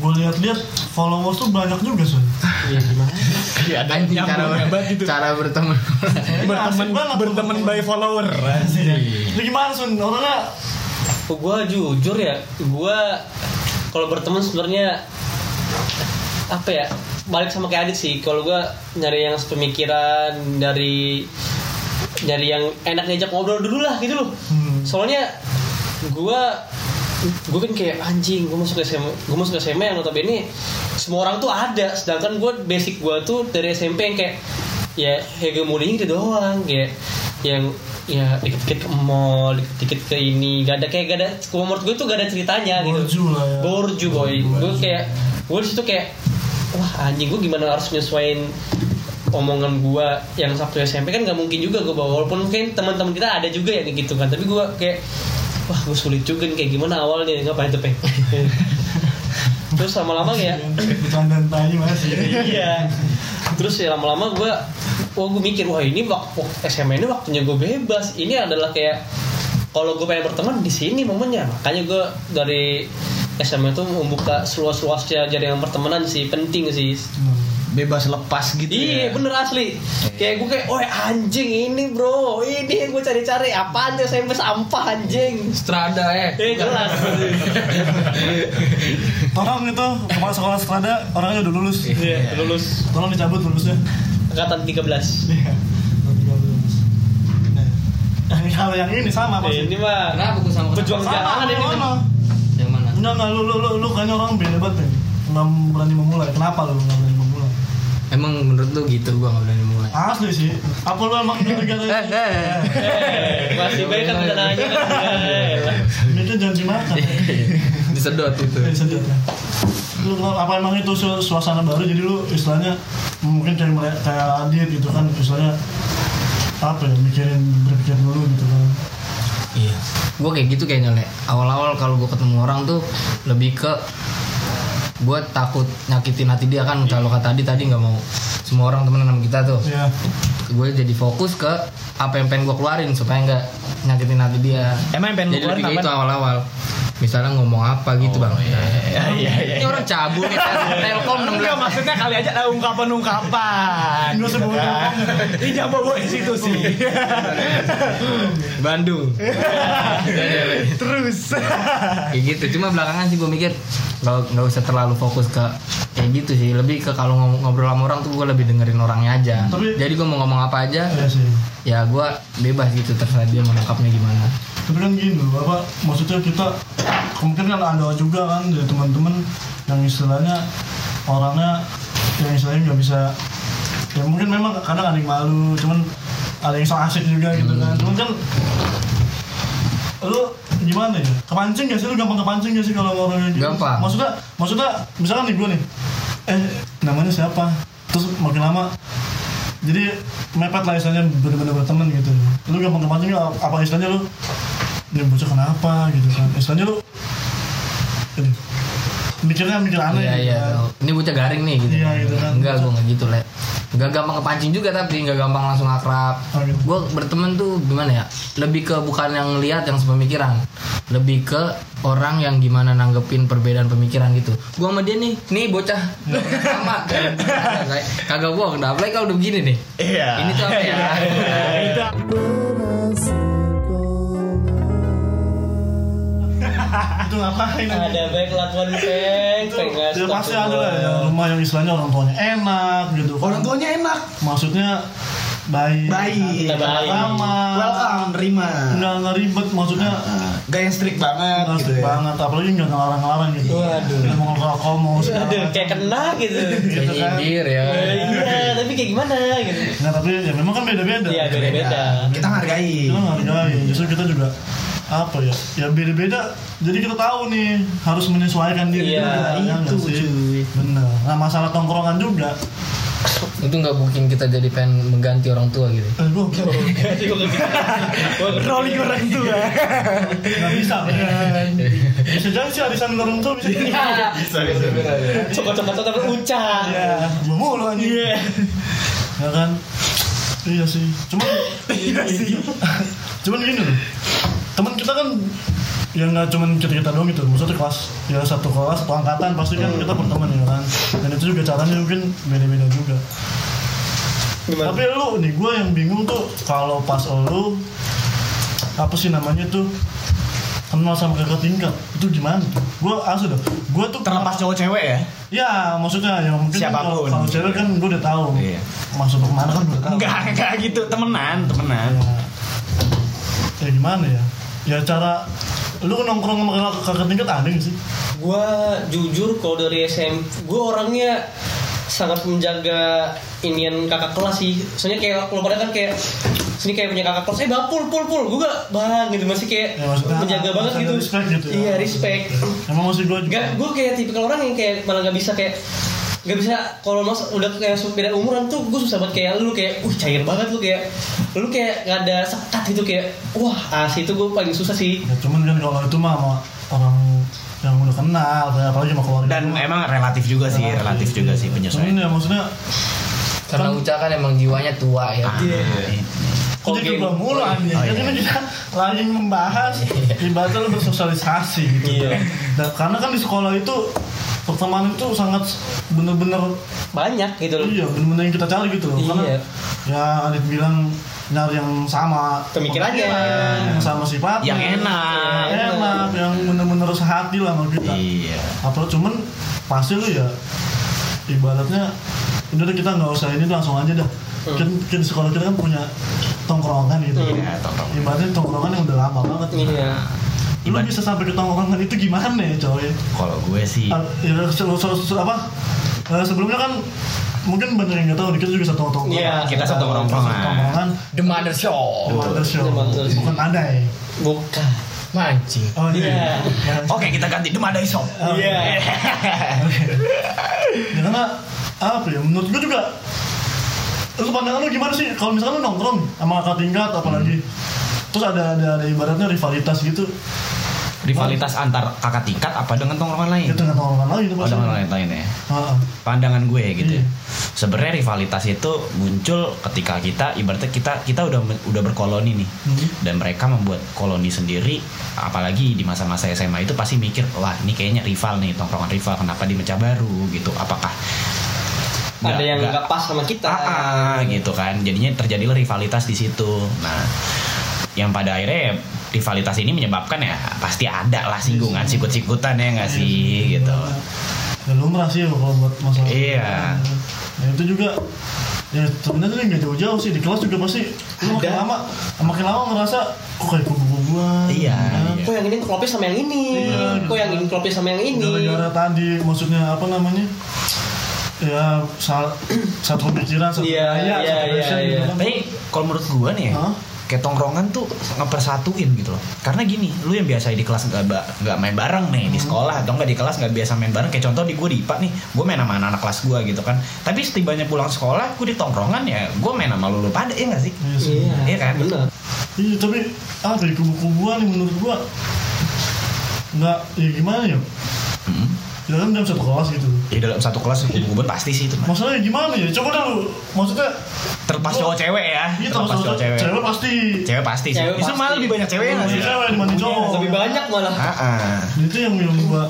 [SPEAKER 3] gue lihat-lihat followers tuh banyak juga Sun
[SPEAKER 4] anjing cara
[SPEAKER 5] gitu.
[SPEAKER 4] cara berteman
[SPEAKER 3] Kayaknya asik banget iya. berteman by follower lu gimana Sun orangnya
[SPEAKER 2] Gue jujur ya, gue kalau berteman sebenarnya apa ya balik sama kayak Adit sih. Kalau gue nyari yang sepemikiran dari nyari yang enak diajak ngobrol dulu lah gitu loh.
[SPEAKER 3] Hmm.
[SPEAKER 2] Soalnya gue gue kan kayak anjing gue masuk SMA gue masuk SMA yang notabene semua orang tuh ada sedangkan gue basic gue tuh dari SMP yang kayak ya hegemoni itu doang kayak yang ya dikit-dikit ke mall dikit-dikit ke ini gak ada kayak gak ada kalau menurut gue tuh gak ada ceritanya
[SPEAKER 3] Borju
[SPEAKER 2] gitu
[SPEAKER 3] lah ya.
[SPEAKER 2] borju boy gue kayak gue disitu kayak wah anjing gue gimana harus nyesuaiin omongan gue yang Sabtu SMP kan gak mungkin juga gue bawa walaupun mungkin teman-teman kita ada juga yang kayak gitu kan tapi gue kayak wah gue sulit juga nih kayak gimana awalnya ngapain tuh peng terus lama-lama kayak
[SPEAKER 3] bercandaan tai masih
[SPEAKER 2] iya terus ya lama-lama gue wah gue mikir wah ini waktu SMA ini waktunya gue bebas ini adalah kayak kalau gue pengen berteman di sini momennya makanya gue dari SMA itu membuka seluas-luasnya jaringan pertemanan sih penting sih
[SPEAKER 5] bebas lepas gitu ya.
[SPEAKER 2] Iya bener asli Kayak gue kayak Oh anjing ini bro Ini yang gue cari-cari Apaan tuh SMP sampah anjing
[SPEAKER 4] strada eh
[SPEAKER 2] Eh jelas
[SPEAKER 3] tolong itu kepala sekolah strada orangnya udah lulus
[SPEAKER 2] Iya lulus
[SPEAKER 3] tolong dicabut lulusnya
[SPEAKER 2] Angkatan 13
[SPEAKER 3] iya Tiga lulus. Nah, kalau yang ini sama
[SPEAKER 2] Eh,
[SPEAKER 3] pasti
[SPEAKER 2] Ini mah
[SPEAKER 4] kenapa gua sama
[SPEAKER 2] Pejuang
[SPEAKER 3] sama
[SPEAKER 2] jangan ini
[SPEAKER 3] sama
[SPEAKER 2] mah.
[SPEAKER 4] yang mana
[SPEAKER 3] enggak enggak lu lu lu, lu kayaknya orang beda banget ya nggak berani memulai kenapa lu nggak berani memulai
[SPEAKER 4] emang menurut lu gitu gua nggak berani mulai
[SPEAKER 3] asli sih apa lu emang gara-gara
[SPEAKER 4] Eh, eh, eh.
[SPEAKER 2] Eh, Masih baik kan udah nanya kan. Eh, lah.
[SPEAKER 3] itu jangan dimakan ya.
[SPEAKER 4] disedot itu
[SPEAKER 3] Dari sejak ya. lu kenal- apa emang itu su- suasana baru jadi lu istilahnya mungkin kayak mere- kayak Adit gitu kan istilahnya apa ya mikirin berpikir dulu gitu kan
[SPEAKER 4] Iya. Gue kayak gitu kayaknya le. Awal-awal kalau gue ketemu orang tuh lebih ke gue takut nyakitin hati dia kan kalau kata tadi tadi nggak mau semua orang temenan sama kita
[SPEAKER 5] Iya.
[SPEAKER 4] tuh
[SPEAKER 3] ya
[SPEAKER 4] gue jadi fokus ke apa yang pengen gue keluarin supaya nggak nyakitin hati dia
[SPEAKER 5] Emang yang pengen lu
[SPEAKER 4] jadi lebih
[SPEAKER 5] keluarin apa?
[SPEAKER 4] ke itu awal-awal misalnya ngomong apa gitu bang
[SPEAKER 5] Iya, iya, iya.
[SPEAKER 4] ini orang cabul nih telkom
[SPEAKER 5] Enggak
[SPEAKER 4] 16
[SPEAKER 5] maksudnya kali aja ada ungkapan-ungkapan.
[SPEAKER 3] Lu sebelumnya
[SPEAKER 5] Ini jangan bawa di situ sih.
[SPEAKER 4] Bandung
[SPEAKER 5] Terus.
[SPEAKER 4] kayak gitu cuma belakangan sih gue mikir nggak nggak usah terlalu fokus ke kayak gitu sih lebih ke kalau ngom- ngobrol sama orang tuh gue lebih dengerin orangnya aja
[SPEAKER 3] Tapi-
[SPEAKER 4] jadi gue mau ngomong apa aja
[SPEAKER 3] ya sih
[SPEAKER 4] ya gue bebas gitu terserah dia menangkapnya gimana
[SPEAKER 3] tapi kan gini loh apa maksudnya kita kemungkinan ada juga kan dari teman-teman yang istilahnya orangnya yang istilahnya nggak bisa ya mungkin memang kadang ada yang malu cuman ada yang so asik juga gitu kan cuman kan lu gimana ya kepancing gak sih lu gampang kepancing gak sih kalau sama orang kayak gitu
[SPEAKER 4] Gampang.
[SPEAKER 3] maksudnya maksudnya misalkan nih gue nih eh namanya siapa terus makin lama jadi mepet lah istilahnya bener-bener berteman gitu lu gampang kepancing nggak? apa istilahnya lu ini bocah kenapa gitu kan istilahnya lu ini, mikirnya mikir aneh
[SPEAKER 4] iya
[SPEAKER 3] gitu
[SPEAKER 4] iya
[SPEAKER 3] kan.
[SPEAKER 4] ini bocah garing nih gitu
[SPEAKER 3] Iya, gitu kan.
[SPEAKER 4] enggak gue nggak gitu le Gak gampang kepancing juga tapi gak gampang langsung akrab
[SPEAKER 3] Oh, gitu.
[SPEAKER 4] Gue berteman tuh gimana ya Lebih ke bukan yang lihat yang sepemikiran Lebih ke orang yang gimana nanggepin perbedaan pemikiran gitu Gue sama dia nih, nih bocah Sama Kagak bohong, dah apalagi kalau udah begini nih
[SPEAKER 5] Iya.
[SPEAKER 4] Ini tuh apa ya
[SPEAKER 5] Iya.
[SPEAKER 3] Berasiklah. kan.
[SPEAKER 1] ngapain
[SPEAKER 2] ada
[SPEAKER 1] anjing?
[SPEAKER 2] baik lakukan peng
[SPEAKER 1] Itu
[SPEAKER 2] peng
[SPEAKER 1] ya pasti ada lah yang rumah yang istilahnya orang tuanya enak gitu kan.
[SPEAKER 5] Orang tuanya enak,
[SPEAKER 3] maksudnya baik
[SPEAKER 5] baik,
[SPEAKER 2] Kita baik.
[SPEAKER 8] Ah.
[SPEAKER 3] ramah
[SPEAKER 5] welcome, nerima.
[SPEAKER 3] nggak nggak ribet maksudnya
[SPEAKER 5] Nah, Gak yang strict banget
[SPEAKER 3] nggak
[SPEAKER 5] gitu
[SPEAKER 3] strict
[SPEAKER 5] ya.
[SPEAKER 3] banget apalagi nggak ngelarang-ngelarang gitu
[SPEAKER 2] Waduh.
[SPEAKER 3] Nggak mau ngerokok mau segala
[SPEAKER 2] aduh
[SPEAKER 3] macam.
[SPEAKER 2] kayak kena gitu
[SPEAKER 4] Kayak
[SPEAKER 3] kan.
[SPEAKER 4] nyindir ya.
[SPEAKER 2] Eh, iya tapi kayak gimana gitu
[SPEAKER 3] Nah tapi ya memang kan beda-beda.
[SPEAKER 2] iya beda beda
[SPEAKER 5] Kita hargai.
[SPEAKER 3] Kita menghargai. Justru kita juga apa ya? Ya beda-beda. Jadi kita tahu nih harus menyesuaikan diri
[SPEAKER 2] Iya,
[SPEAKER 3] kita. ya nggak sih? Bener. Nah masalah tongkrongan juga.
[SPEAKER 4] Itu nggak mungkin kita jadi pengen mengganti orang tua gitu.
[SPEAKER 3] Eh, gua
[SPEAKER 5] Rolling orang tua.
[SPEAKER 3] nggak bisa. bisa jadi sih arisan orang tua bisa. Iya.
[SPEAKER 2] coba coba coba tapi ucap
[SPEAKER 5] Iya.
[SPEAKER 3] Gua mulu anjing. Ya kan. Iya sih. Cuman
[SPEAKER 5] Iya sih.
[SPEAKER 3] cuman gini loh. Teman kita kan ya nggak cuman kita kita doang gitu maksudnya kelas ya satu kelas satu angkatan pasti kan kita berteman ya kan dan itu juga caranya mungkin beda-beda juga
[SPEAKER 2] gimana
[SPEAKER 3] Tapi lu nih gue yang bingung tuh kalau pas lu apa sih namanya tuh kenal sama kakak tingkat itu gimana tuh? Gue asli dah, gue tuh
[SPEAKER 5] Terlepas cowok cewek ya.
[SPEAKER 3] Ya maksudnya yang mungkin kan kalau-
[SPEAKER 5] Siapapun.
[SPEAKER 3] kalau cewek kan gue udah tahu.
[SPEAKER 5] Iya.
[SPEAKER 3] Maksud lu kemana kan udah tahu.
[SPEAKER 5] Enggak, enggak gitu, temenan, temenan.
[SPEAKER 3] Ya, ya gimana ya? Ya cara lu nongkrong sama kakak, kakak tingkat ada gak sih?
[SPEAKER 2] gue jujur kalau dari SM gue orangnya sangat menjaga inian kakak kelas sih soalnya kayak kalau pada kan kayak sini kayak punya kakak kelas eh bang pul pul pul gue gak bang gitu masih kayak
[SPEAKER 3] Ya, maksudnya
[SPEAKER 2] menjaga banget
[SPEAKER 3] ada
[SPEAKER 2] gitu,
[SPEAKER 3] respect gitu ya.
[SPEAKER 2] iya respect
[SPEAKER 3] Emang masih gue juga.
[SPEAKER 2] Gak, gue kayak tipikal orang yang kayak malah gak bisa kayak gak bisa kalau mas udah kayak su- beda umuran tuh gue susah banget kayak lu kayak uh cair banget lu kayak lu kayak gak ada sekat gitu kayak wah asli itu gue paling susah sih
[SPEAKER 3] Ya, cuman kan kalau itu mah sama orang yang udah kenal, kayak apalagi sama keluarga.
[SPEAKER 5] Dan
[SPEAKER 3] gua. Iya.
[SPEAKER 5] emang relatif juga sih, relatif juga sih penyesuaian.
[SPEAKER 3] Cuman ya maksudnya
[SPEAKER 4] Karena Uca kan emang jiwanya tua ya.
[SPEAKER 5] Iya.
[SPEAKER 3] Kok jadi gua mulu anjing. Jadi kan kita lagi membahas ibaratnya lu bersosialisasi gitu.
[SPEAKER 2] Iya.
[SPEAKER 3] Dan karena kan di sekolah itu pertemanan itu sangat bener-bener
[SPEAKER 2] banyak gitu loh
[SPEAKER 3] iya bener-bener yang kita cari gitu loh. Karena
[SPEAKER 2] Iya.
[SPEAKER 3] ya Adit bilang nyari yang sama
[SPEAKER 2] Pemikirannya.
[SPEAKER 3] yang sama sifat,
[SPEAKER 5] Yang enak.
[SPEAKER 3] yang enak, yang bener-bener sehati lah sama kita.
[SPEAKER 5] Iya.
[SPEAKER 3] Apa cuman pasti lu ya ibaratnya udah deh kita nggak usah ini langsung aja dah.
[SPEAKER 2] Hmm.
[SPEAKER 3] Kan, kan di sekolah kita kan punya tongkrongan gitu.
[SPEAKER 5] Ya, tolong.
[SPEAKER 3] Ibaratnya tongkrongan yang udah lama banget.
[SPEAKER 2] iya
[SPEAKER 3] Lu bisa sampai ke tongkrongan itu gimana ya coy?
[SPEAKER 5] Kalau gue sih
[SPEAKER 3] Ah, Ya, se- se- se- apa? Eh, sebelumnya kan mungkin banyak yang nggak tahu nih, kita juga satu tongkrongan.
[SPEAKER 2] Iya,
[SPEAKER 5] kita satu
[SPEAKER 3] Satu
[SPEAKER 5] tongkrongan.
[SPEAKER 3] tongkrongan.
[SPEAKER 4] The Mother Show.
[SPEAKER 5] Oh,
[SPEAKER 3] The Mother Show.
[SPEAKER 2] The Mother Show.
[SPEAKER 3] Bukan ada ya?
[SPEAKER 2] bukan
[SPEAKER 4] Mancing.
[SPEAKER 3] Oh
[SPEAKER 2] Iya.
[SPEAKER 3] iya. Eh,
[SPEAKER 5] Oke, kita ganti Demadai Shop.
[SPEAKER 2] iya
[SPEAKER 3] Ya, karena apa ya? Menurut gue juga Terus pandangan lu gimana sih? Kalau misalkan lu nongkrong sama kakak tingkat apalagi
[SPEAKER 5] Hmm.
[SPEAKER 3] Terus ada, ada, ada ibaratnya rivalitas gitu
[SPEAKER 5] Rivalitas antar kakak tingkat apa dengan tongkrongan lain?
[SPEAKER 3] Itu nggak tongkrongan lagi tuh
[SPEAKER 5] Oh,
[SPEAKER 3] pasti
[SPEAKER 5] dengan lain-lain ya.
[SPEAKER 3] Ah, ah.
[SPEAKER 5] pandangan gue gitu ya.
[SPEAKER 2] Hmm.
[SPEAKER 3] Iya.
[SPEAKER 5] Sebenarnya rivalitas itu muncul ketika kita ibaratnya kita kita udah udah berkoloni nih
[SPEAKER 2] Hmm.
[SPEAKER 3] Mhm.
[SPEAKER 5] dan mereka membuat koloni sendiri apalagi di masa-masa SMA itu pasti mikir wah ini kayaknya rival nih tongkrongan rival kenapa di Mecah Baru gitu apakah
[SPEAKER 2] ada
[SPEAKER 5] nggak-
[SPEAKER 2] yang
[SPEAKER 5] nggak-
[SPEAKER 2] nggak pas sama kita
[SPEAKER 5] Ah, ah, gitu kan. Jadinya terjadilah rivalitas di situ. Nah, yang pada akhirnya ya, rivalitas ini menyebabkan ya pasti ada lah singgungan,
[SPEAKER 2] Hmm.
[SPEAKER 5] sikut-sikutan ya nggak sih gitu.
[SPEAKER 3] ya lumrah sih kalau buat masalah
[SPEAKER 5] Iya.
[SPEAKER 3] nah itu juga ya sebenarnya nggak jauh-jauh sih di kelas juga pasti lu makin
[SPEAKER 2] Ada.
[SPEAKER 3] lama makin lama ngerasa kok kayak kubu-kubuan
[SPEAKER 5] Iya,
[SPEAKER 3] kan?
[SPEAKER 5] iya.
[SPEAKER 2] kok yang ini klopis sama yang ini
[SPEAKER 3] Iya.
[SPEAKER 2] kok yang ini klopis sama yang ini
[SPEAKER 3] gara-gara tadi maksudnya apa namanya ya sal- satu pikiran satu
[SPEAKER 2] Iya,
[SPEAKER 3] gaya,
[SPEAKER 2] iya,
[SPEAKER 3] satu
[SPEAKER 2] iya,
[SPEAKER 3] passion
[SPEAKER 2] iya.
[SPEAKER 3] gitu kan.
[SPEAKER 5] Tapi kalau menurut gua nih ya,
[SPEAKER 3] Hah?
[SPEAKER 5] kayak tongkrongan tuh ngepersatuin gitu loh. Karena gini, lu yang biasa di kelas nggak ba- nggak main bareng nih di sekolah atau nggak di kelas nggak biasa main bareng. Kayak contoh di gua di IPA nih, gua main sama anak-anak kelas gua gitu kan. Tapi setibanya pulang sekolah, gua di tongkrongan ya, gua main sama lu lu pada ya nggak sih?
[SPEAKER 3] Iya sih.
[SPEAKER 2] iya
[SPEAKER 5] Iya kan?
[SPEAKER 2] bener
[SPEAKER 3] Iya tapi ada di kubu-kubuan yang menurut gua nggak ya gimana ya
[SPEAKER 5] Hmm.
[SPEAKER 3] ya kan dalam satu kelas gitu
[SPEAKER 5] Ya dalam satu kelas kubu pasti sih itu. mah.
[SPEAKER 3] maksudnya gimana ya coba dah lu maksudnya
[SPEAKER 5] Terlepas cowok cewek ya.
[SPEAKER 3] Iya
[SPEAKER 5] Terlepas
[SPEAKER 3] terus
[SPEAKER 5] cowok cewek.
[SPEAKER 3] cewek Iya. pasti
[SPEAKER 5] Cewek pasti sih.
[SPEAKER 2] Cewek
[SPEAKER 5] Justru malah
[SPEAKER 2] pasti.
[SPEAKER 5] lebih banyak cewek ya nggak sih?
[SPEAKER 3] Lebih cewek dibanding cowok.
[SPEAKER 2] Iya, lebih banyak malah
[SPEAKER 5] Ah, ah.
[SPEAKER 3] Dan Itu yang yang gua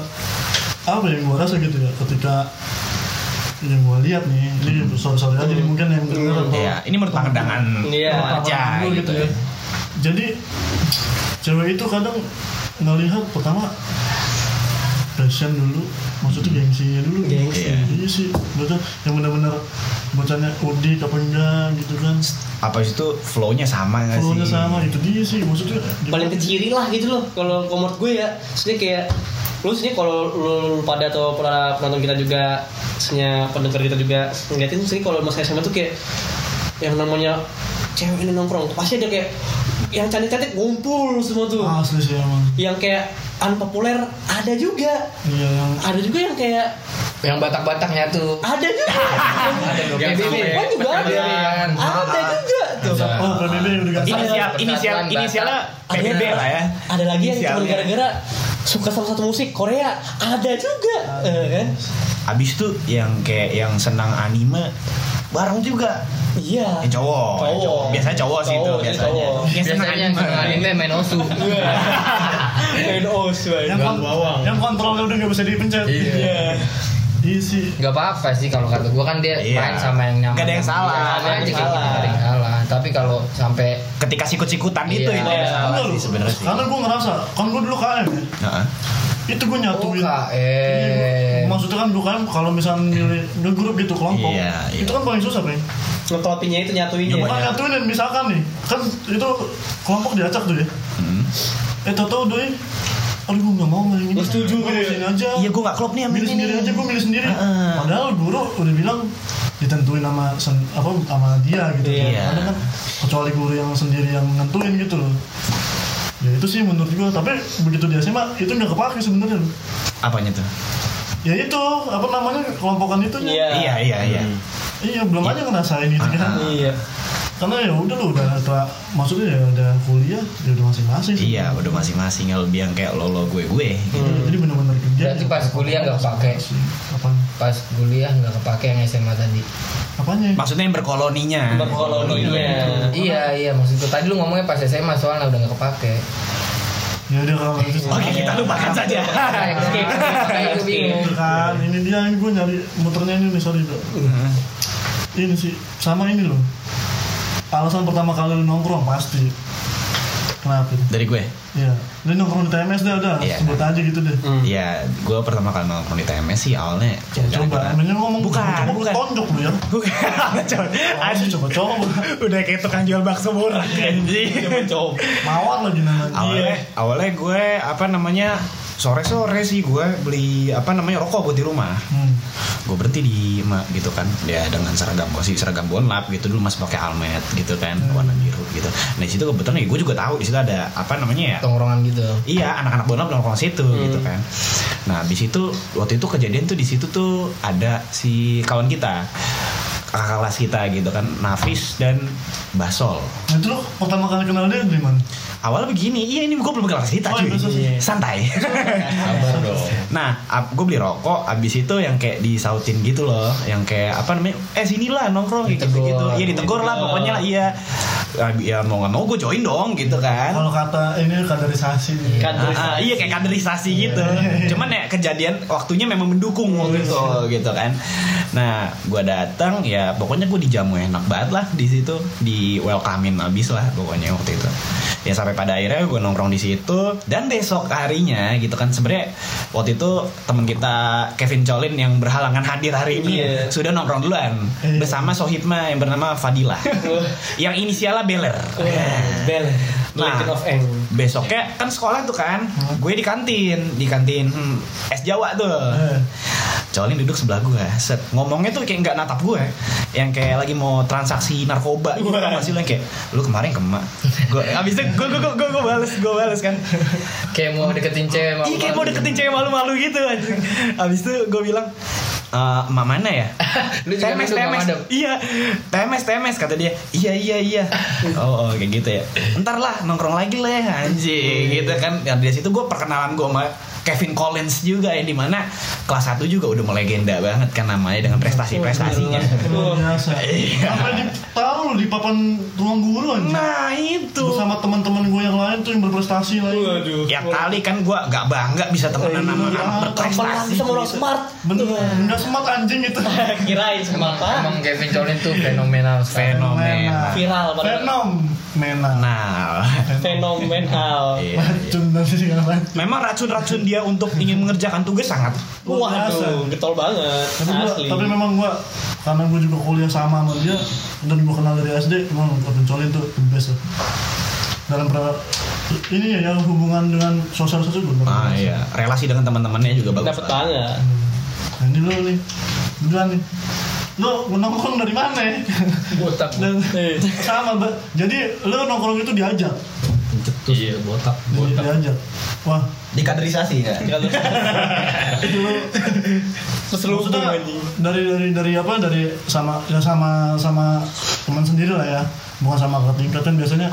[SPEAKER 3] apa yang gua rasa gitu ya ketika yang gua lihat nih ini sorry sorry aja nih, mungkin yang denger atau-
[SPEAKER 5] Hmm. Iya, ini menurut pandangan
[SPEAKER 2] Iya.
[SPEAKER 5] aja
[SPEAKER 3] Dulu
[SPEAKER 5] gitu ya.
[SPEAKER 3] Jadi cewek itu kadang ngelihat pertama passion dulu
[SPEAKER 5] Hmm.
[SPEAKER 3] maksudnya gengsinya dulu
[SPEAKER 2] Gengsi.
[SPEAKER 3] iya sih bocah yang benar-benar bocahnya udik apa enggak gitu kan
[SPEAKER 5] apa itu flow-nya sama nggak sih?
[SPEAKER 3] flow sama itu dia sih maksudnya gimana?
[SPEAKER 2] paling keciri lah gitu loh kalau komod gue ya maksudnya kayak lu sebenarnya kalau lu pada atau para penonton kita juga sebenarnya pendengar kita juga ngeliatin sebenarnya kalau masa SMA tuh kayak yang namanya cewek ini nongkrong pasti ada kayak yang cantik-cantik ngumpul semua tuh
[SPEAKER 3] asli sih emang
[SPEAKER 2] yang kayak unpopuler ada juga
[SPEAKER 3] iya yang
[SPEAKER 2] ada juga yang kayak
[SPEAKER 4] yang batak-batak nyatu
[SPEAKER 2] ada juga
[SPEAKER 4] ada dong yang
[SPEAKER 2] Yang perempuan juga ada
[SPEAKER 4] Perkembangan.
[SPEAKER 2] ada juga tuh
[SPEAKER 3] oh PBB yang udah ganti
[SPEAKER 5] Inisial,
[SPEAKER 4] Persatuan
[SPEAKER 5] inisial,
[SPEAKER 4] Batak.
[SPEAKER 5] inisialnya PBB lah ya.
[SPEAKER 2] ada lagi yang cuma
[SPEAKER 5] Inisialnya.
[SPEAKER 2] gara-gara suka sama satu musik Korea ada juga eh, kan
[SPEAKER 5] Abis itu yang kayak yang senang anime bareng juga.
[SPEAKER 2] iya
[SPEAKER 5] Yang cowok, yang
[SPEAKER 2] Cowok.
[SPEAKER 5] Biasanya cowok sih itu
[SPEAKER 2] Cowok, jadi
[SPEAKER 5] biasanya.
[SPEAKER 2] cowok.
[SPEAKER 5] Yang senang
[SPEAKER 4] Iya, biasanya yang
[SPEAKER 5] anime.
[SPEAKER 4] suka anime main osu
[SPEAKER 2] NO
[SPEAKER 3] yang,
[SPEAKER 2] suai
[SPEAKER 3] kon- yang kontrolnya udah nggak bisa dipencet
[SPEAKER 4] Iya.
[SPEAKER 3] iya sih
[SPEAKER 4] Gak apa-apa sih kalau kata gue kan dia
[SPEAKER 5] Iya.
[SPEAKER 4] main sama yang nyaman
[SPEAKER 5] Nggak ada yang salah.
[SPEAKER 4] Sama
[SPEAKER 2] Nggak ada
[SPEAKER 4] aja
[SPEAKER 2] yang
[SPEAKER 4] kayak gitu,
[SPEAKER 2] salah.
[SPEAKER 4] nggak ada yang salah Tapi kalau sampai
[SPEAKER 5] Ketika sikut-sikutan itu
[SPEAKER 4] Iya.
[SPEAKER 5] itu yang salah
[SPEAKER 3] Enggak
[SPEAKER 5] sih
[SPEAKER 3] loh.
[SPEAKER 5] sebenarnya sih.
[SPEAKER 3] Karena gue ngerasa, kan gue dulu KM ya.
[SPEAKER 5] Heeh.
[SPEAKER 3] Itu gue nyatuin.
[SPEAKER 4] Oh, KM.
[SPEAKER 3] Iya, maksudnya kan gue KM kalau misalnya milih ngegrup gitu kelompok.
[SPEAKER 5] Iya, iya.
[SPEAKER 3] Itu kan paling susah, Peng.
[SPEAKER 2] ngetopinya itu ya. nyatuinnya
[SPEAKER 3] Bukan nyatuin dan misalkan nih, kan itu kelompok diacak tuh ya.
[SPEAKER 5] Hmm.
[SPEAKER 3] Eh, tau tau doi, aduh gue gak mau main ini.
[SPEAKER 2] Gua setuju,
[SPEAKER 3] Gua
[SPEAKER 2] gitu ya.
[SPEAKER 3] sini aja.
[SPEAKER 5] Iya gue gak klop nih sama
[SPEAKER 3] milih
[SPEAKER 5] ini
[SPEAKER 3] sendiri
[SPEAKER 5] nih.
[SPEAKER 3] aja, gue milih sendiri.
[SPEAKER 5] Heeh.
[SPEAKER 3] Padahal guru udah bilang ditentuin sama sen- apa sama dia gitu kan.
[SPEAKER 5] Iya.
[SPEAKER 3] Padahal kan kecuali guru yang sendiri yang nentuin gitu loh. Ya itu sih menurut gua, tapi begitu dia SMA itu nggak kepake sebenarnya. loh.
[SPEAKER 5] Apanya tuh?
[SPEAKER 3] Ya itu apa namanya kelompokan itu
[SPEAKER 2] iya
[SPEAKER 5] Iya iya iya.
[SPEAKER 3] Iya belum aja ngerasain gitu kan.
[SPEAKER 2] iya
[SPEAKER 3] Karena ya udah lu udah telah maksudnya ya udah kuliah ya udah masing-masing.
[SPEAKER 5] Iya udah masing-masing yang lebih yang kayak lo lo gue gue.
[SPEAKER 3] Jadi benar-benar kerja. ya,
[SPEAKER 4] Berarti pas kuliah nggak kepake.
[SPEAKER 3] Apa?
[SPEAKER 4] pas kuliah nggak kepake yang SMA tadi
[SPEAKER 3] Apanya? ya?
[SPEAKER 5] Maksudnya yang berkoloninya.
[SPEAKER 2] berkoloninya
[SPEAKER 4] Iya iya maksud gue tadi lu ngomongnya pas SMA soalnya udah nggak kepake
[SPEAKER 3] Ya udah kalau itu
[SPEAKER 5] Oke kita lupakan saja.
[SPEAKER 2] Iya.
[SPEAKER 4] Kayak skip, makanya gue bingung
[SPEAKER 3] kan ini dia ini gue nyari muternya ini nih sorry bro ini sih sama ini loh alasan pertama kali lu nongkrong pasti kenapa
[SPEAKER 5] Dari gue.
[SPEAKER 3] ya lu nongkrong di TMS deh udah
[SPEAKER 5] Iya.
[SPEAKER 3] sebut aja gitu deh
[SPEAKER 5] Iya, gue pertama kali nongkrong di TMS sih awalnya
[SPEAKER 3] coba emangnya lu ngomong
[SPEAKER 5] Iya, Bukan,
[SPEAKER 3] coba
[SPEAKER 5] bukan.
[SPEAKER 3] tonjok lu ya
[SPEAKER 5] Bukan, coba.
[SPEAKER 3] Aduh, coba coba
[SPEAKER 5] Udah kayak tukang jual bakso murah anjing. Iya.
[SPEAKER 3] mawar lagi namanya Iya.
[SPEAKER 5] awalnya, awalnya gue apa namanya sore-sore sih gue beli apa namanya rokok buat di rumah.
[SPEAKER 3] hmm.
[SPEAKER 5] Gue berhenti di emak gitu kan. Ya dengan seragam posisi seragam bonlap gitu dulu masih pakai almet gitu kan, warna biru gitu. Nah, di situ kebetulan ya gue juga tahu di situ ada apa namanya ya?
[SPEAKER 4] tongkrongan gitu
[SPEAKER 5] Iya, anak-anak Bonang nongkrong situ gitu kan. Nah, habis itu waktu itu kejadian tuh di situ tuh ada si kawan kita kakak kelas kita gitu kan, Nafis dan Basol.
[SPEAKER 3] nah itu lu pertama kali kenal dia dari mana
[SPEAKER 5] Awalnya begini, iya ini gue belum kenal kita
[SPEAKER 3] Oh,
[SPEAKER 5] cuy.
[SPEAKER 3] iya, Basol sih.
[SPEAKER 5] Santai. nah, gue beli rokok, abis itu yang kayak disautin gitu loh, yang kayak apa namanya? Eh sinilah nongkrong gitu gitu.
[SPEAKER 4] Ditegur.
[SPEAKER 5] Iya ditegur lah pokoknya lah iya. Ah, Ya mau nggak mau gue join dong gitu kan.
[SPEAKER 3] kalau kata ini kaderisasi
[SPEAKER 2] kan terus
[SPEAKER 5] Ah, ah, iya kayak kaderisasi gitu. Cuman ya kejadian waktunya memang mendukung waktu itu gitu kan. Nah, gua datang ya pokoknya gua dijamu enak banget lah di situ, di welcome-in abis lah pokoknya waktu itu. Ya sampai pada akhirnya gua nongkrong di situ dan besok harinya gitu kan sebenarnya waktu itu teman kita Kevin Colin yang berhalangan hadir hari ini
[SPEAKER 2] Iya.
[SPEAKER 5] sudah nongkrong duluan
[SPEAKER 3] Iya.
[SPEAKER 5] bersama Sohibma yang bernama Fadila. yang inisialnya Beler.
[SPEAKER 2] Iya. bel
[SPEAKER 5] Nah.
[SPEAKER 2] Legend of Eng Hmm.
[SPEAKER 5] Besoknya kan sekolah tuh kan, gue di kantin, di kantin hmm, es Jawa tuh.
[SPEAKER 3] Eh,
[SPEAKER 2] Hmm.
[SPEAKER 5] Colin duduk sebelah gue, set ngomongnya tuh kayak nggak natap gue, yang kayak lagi mau transaksi narkoba gitu kan masih yang kayak lu kemarin kemak. Gue abis itu gue gue gue gue, gue bales gue bales kan.
[SPEAKER 4] kayak mau deketin cewek
[SPEAKER 5] Iya kayak mau
[SPEAKER 4] malu-malu.
[SPEAKER 5] deketin cewek malu-malu gitu anjing. Abis itu gue bilang "Eh, emak mana ya?
[SPEAKER 4] gitu. Lu juga
[SPEAKER 5] TMS,
[SPEAKER 4] duduk sama
[SPEAKER 5] TMS.
[SPEAKER 4] Adam.
[SPEAKER 5] Iya, TMS, TMS kata dia. Iya, iya, iya. Oh, oh, kayak gitu ya. Ntar lah nongkrong lagi lah anjing gitu kan. Dan dari situ gue perkenalan gue sama Kevin Collins juga yang dimana kelas 1 juga udah melegenda banget kan namanya dengan prestasi-prestasinya.
[SPEAKER 3] luar biasa
[SPEAKER 5] Iya.
[SPEAKER 3] sampai ditaruh di papan ruang guru anjing
[SPEAKER 5] Nah itu.
[SPEAKER 3] bersama teman-teman gue yang lain tuh yang berprestasi lagi.
[SPEAKER 2] waduh
[SPEAKER 5] Ya kali kan gue gak bangga bisa temenan sama anak
[SPEAKER 3] Iya, tambah
[SPEAKER 5] berprestasi. gitu.
[SPEAKER 2] langsung orang smart
[SPEAKER 3] Bener, enggak smart anjing itu.
[SPEAKER 2] Kirain sama apa?
[SPEAKER 4] Emang Kevin Colin tuh fenomenal sekali.
[SPEAKER 5] Fenomena.
[SPEAKER 2] Viral pada
[SPEAKER 3] Fenomena.
[SPEAKER 5] Nah,
[SPEAKER 2] fenomenal.
[SPEAKER 5] iya, iya.
[SPEAKER 3] Racun dan segala macam.
[SPEAKER 5] memang racun-racun dia untuk ingin mengerjakan tugas sangat.
[SPEAKER 3] Luar biasa.
[SPEAKER 2] Waduh, getol banget.
[SPEAKER 3] Tapi, gua,
[SPEAKER 2] Asli.
[SPEAKER 3] tapi memang gua karena gua juga kuliah sama sama dia dan gua kenal dari SD emang Kevin Colin tuh the best lah. dalam pra, ini ya yang hubungan dengan sosial sosial gua
[SPEAKER 5] Nah,
[SPEAKER 3] dapat.
[SPEAKER 5] iya. Relasi dengan teman-temannya juga bagus.
[SPEAKER 2] Dapet
[SPEAKER 5] lah.
[SPEAKER 2] banget.
[SPEAKER 3] nah, ini lo nih duluan nih lo nongkrong dari mana ya?
[SPEAKER 7] botak
[SPEAKER 3] Dan- sama Mbak. jadi lo nongkrong itu diajak
[SPEAKER 7] iya botak
[SPEAKER 3] Di-
[SPEAKER 7] botak
[SPEAKER 3] diajak wah
[SPEAKER 5] Dikaderisasi ya.
[SPEAKER 3] itu lo
[SPEAKER 2] Keselubung
[SPEAKER 3] Maksudnya
[SPEAKER 2] anjing.
[SPEAKER 3] dari dari dari apa dari sama ya sama sama teman sendiri lah ya bukan sama kakak tingkat kan biasanya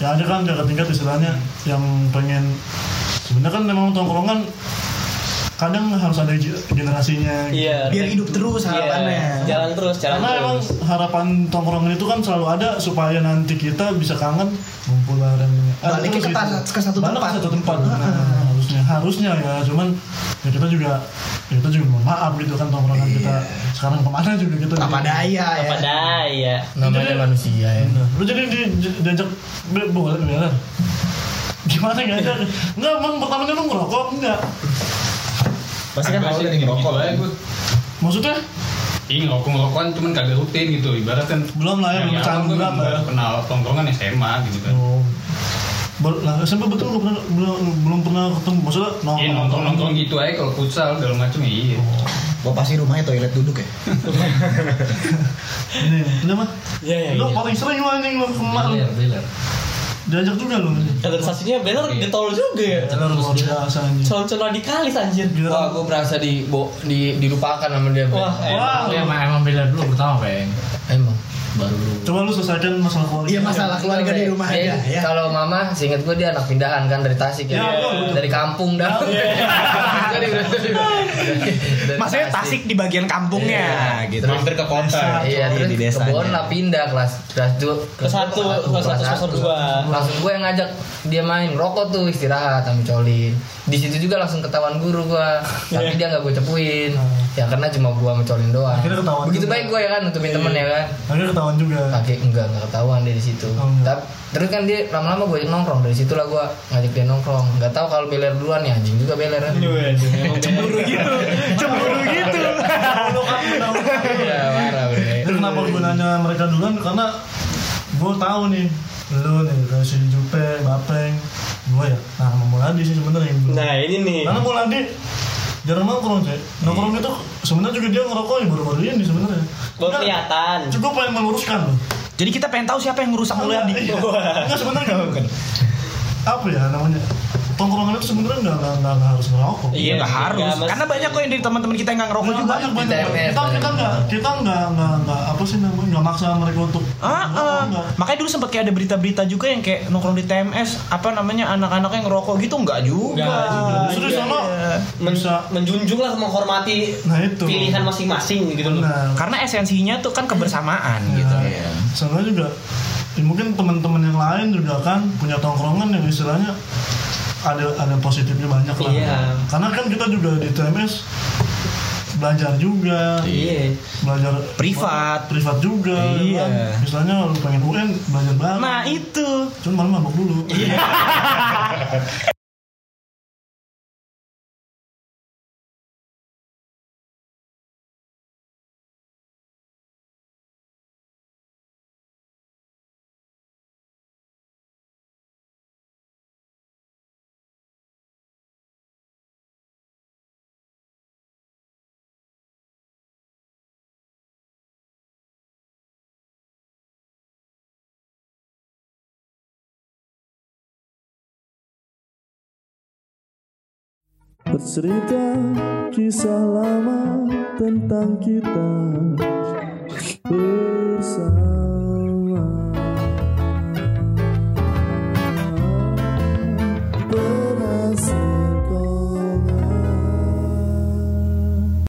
[SPEAKER 3] ya ada kan kakak tingkat istilahnya yang pengen sebenarnya kan memang tongkrongan kadang harus ada ge- generasinya gitu.
[SPEAKER 2] Iya.
[SPEAKER 5] Biar hidup terus
[SPEAKER 2] Iya,
[SPEAKER 5] harapannya.
[SPEAKER 2] jalan terus, jalan
[SPEAKER 3] karena emang
[SPEAKER 2] terus.
[SPEAKER 3] harapan tongkrongan itu kan selalu ada supaya nanti kita bisa kangen ngumpul bareng Ah,
[SPEAKER 5] Balik ke
[SPEAKER 3] terus
[SPEAKER 5] tas- ke satu
[SPEAKER 3] Balik
[SPEAKER 5] tempat.
[SPEAKER 3] ke satu tempat Nah, harusnya harusnya ya cuman ya kita juga ya kita juga mohon maaf gitu kan tongkrongan kita
[SPEAKER 5] Iya.
[SPEAKER 3] sekarang kemana juga gitu
[SPEAKER 5] Apa daya ya.
[SPEAKER 2] Apa daya?
[SPEAKER 4] Namanya manusia ya.
[SPEAKER 3] Nah, lu jadi di, di- diajak be- boleh beler gimana nggak ada nggak emang pertamanya lu ngerokok nggak
[SPEAKER 7] pasti kan awalnya nih ngerokok lah gue
[SPEAKER 3] maksudnya
[SPEAKER 7] Ih ngerokok ngerokokan Iya, cuman kagak rutin gitu ibarat kan
[SPEAKER 3] belum lah ya
[SPEAKER 7] yang
[SPEAKER 3] belum
[SPEAKER 7] awal
[SPEAKER 3] canggung
[SPEAKER 7] gua
[SPEAKER 3] belum lah
[SPEAKER 7] baru
[SPEAKER 3] ya.
[SPEAKER 7] kenal tongkrongan SMA gitu kan
[SPEAKER 3] Oh. Ber- Lah, SMP betul lu pernah, belum, belum pernah ketemu maksudnya
[SPEAKER 7] Iya nongkrong nongkrong gitu aja kalau futsal segala macam iya
[SPEAKER 5] Gua pasti rumahnya toilet duduk ya.
[SPEAKER 3] Ini, udah mah.
[SPEAKER 2] Iya, iya,
[SPEAKER 3] Lu
[SPEAKER 2] iya.
[SPEAKER 3] paling sering lu anjing lu kemar lu.
[SPEAKER 7] Beler, beler.
[SPEAKER 3] Diajak juga lu.
[SPEAKER 2] Kaderisasinya bener
[SPEAKER 3] Iya.
[SPEAKER 2] getol juga ya.
[SPEAKER 3] Jalan luar biasa anjing.
[SPEAKER 2] Calon-calon radikalis anjir.
[SPEAKER 4] Wah,
[SPEAKER 3] Giliran
[SPEAKER 4] gue merasa di, bo, di dilupakan sama dia. Bang.
[SPEAKER 2] Wah, eh,
[SPEAKER 3] Wah,
[SPEAKER 9] Tapi emang emang beda dulu pertama peng
[SPEAKER 4] Emang baru lu.
[SPEAKER 3] coba lu selesaikan masalah keluarga.
[SPEAKER 5] Iya masalah keluarga di rumah
[SPEAKER 2] Iya,
[SPEAKER 4] Dia-
[SPEAKER 5] aja ya.
[SPEAKER 4] Kalau mama, seinget gue dia anak pindahan kan dari Tasik ya.
[SPEAKER 3] Iya, betul.
[SPEAKER 4] Dari kampung dah. Dari- dari- dari
[SPEAKER 5] Maksudnya Tasik di bagian kampungnya gitu.
[SPEAKER 8] Mampir ke kota.
[SPEAKER 4] Iya,
[SPEAKER 5] Iya,
[SPEAKER 4] terus
[SPEAKER 5] di
[SPEAKER 4] di
[SPEAKER 5] desanya.
[SPEAKER 4] lah pindah kelas kelas dua,
[SPEAKER 2] Kelas satu, kelas satu, kelas dua.
[SPEAKER 4] Langsung gue yang ngajak dia main rokok tuh istirahat sama colin. Di situ juga langsung ketahuan guru gue,
[SPEAKER 2] Iya.
[SPEAKER 4] tapi dia nggak gue cepuin.
[SPEAKER 2] Ah.
[SPEAKER 4] Ya karena cuma gue sama colin doang.
[SPEAKER 3] Akhirnya ketahuan
[SPEAKER 4] Begitu
[SPEAKER 3] juga. Iya.
[SPEAKER 4] baik gue ya kan nutupin temen ya kan.
[SPEAKER 3] Akhirnya ketahuan juga.
[SPEAKER 4] Pakai enggak enggak ketahuan dia di situ.
[SPEAKER 3] Oh, enggak.
[SPEAKER 4] Tapi terus kan dia lama-lama gue nongkrong dari situlah gue ngajak dia nongkrong. Nggak tahu kalau beler duluan ya anjing juga beler kan.
[SPEAKER 2] Iya.
[SPEAKER 5] Cemburu gitu. Cemburu gitu.
[SPEAKER 4] Iya marah bre.
[SPEAKER 3] Itu kan kenapa gue nanya mereka duluan karena gue tahu nih lu nih dari si Jupe, Bapeng, gue ya. Nah, sama Muladi sih sebenarnya yang dulu.
[SPEAKER 2] Nah, ini nih.
[SPEAKER 3] Karena Muladi jarang nongkrong sih.
[SPEAKER 2] Iya.
[SPEAKER 3] Nongkrong itu sebenarnya juga dia ngerokok ya baru-baru ini sebenarnya.
[SPEAKER 2] Baru
[SPEAKER 3] Enggak,
[SPEAKER 2] kelihatan.
[SPEAKER 3] Cukup pengen meluruskan loh.
[SPEAKER 5] Jadi kita pengen tahu siapa yang ngerusak Mulyadi.
[SPEAKER 3] Iya. Enggak sebenarnya enggak bukan. Apa ya namanya? Tongkrongan itu sebenarnya enggak enggak- enggak enggak harus ngerokok.
[SPEAKER 5] Iya nggak harus.
[SPEAKER 2] nggak, Mas.
[SPEAKER 5] Karena banyak kok yang dari teman-teman kita yang nggak ngerokok
[SPEAKER 3] Enggak
[SPEAKER 5] juga.
[SPEAKER 3] banyak banyak.
[SPEAKER 4] Di TMS,
[SPEAKER 3] Kita kita
[SPEAKER 4] banyak.
[SPEAKER 3] enggak kita enggak enggak enggak apa sih namanya? Enggak maksa mereka untuk
[SPEAKER 5] Ah,
[SPEAKER 3] ngerokok,
[SPEAKER 5] ah.
[SPEAKER 3] enggak.
[SPEAKER 5] makanya dulu sempat kayak ada berita-berita juga yang kayak nongkrong di TMS apa namanya anak-anaknya ngerokok gitu nggak juga.
[SPEAKER 2] Nggak juga.
[SPEAKER 3] Justru
[SPEAKER 5] Iya,
[SPEAKER 3] di sana
[SPEAKER 2] Men-
[SPEAKER 3] bisa
[SPEAKER 2] menjunjung lah menghormati
[SPEAKER 3] Nah, itu.
[SPEAKER 2] pilihan masing-masing gitu loh.
[SPEAKER 3] nah
[SPEAKER 5] Karena esensinya tuh kan kebersamaan gitu.
[SPEAKER 3] Iya. sana juga ya mungkin teman-teman yang lain juga kan punya tongkrongan yang istilahnya ada ada positifnya banyak lah
[SPEAKER 2] Iya.
[SPEAKER 3] karena kan kita juga di TMS belajar juga
[SPEAKER 2] Iya.
[SPEAKER 3] belajar
[SPEAKER 5] Privat.
[SPEAKER 3] privat juga
[SPEAKER 5] Iya.
[SPEAKER 3] kan. misalnya lu pengen UN belajar bareng
[SPEAKER 5] Nah itu.
[SPEAKER 3] cuman malam mabuk dulu bercerita kisah lama tentang kita. Eh,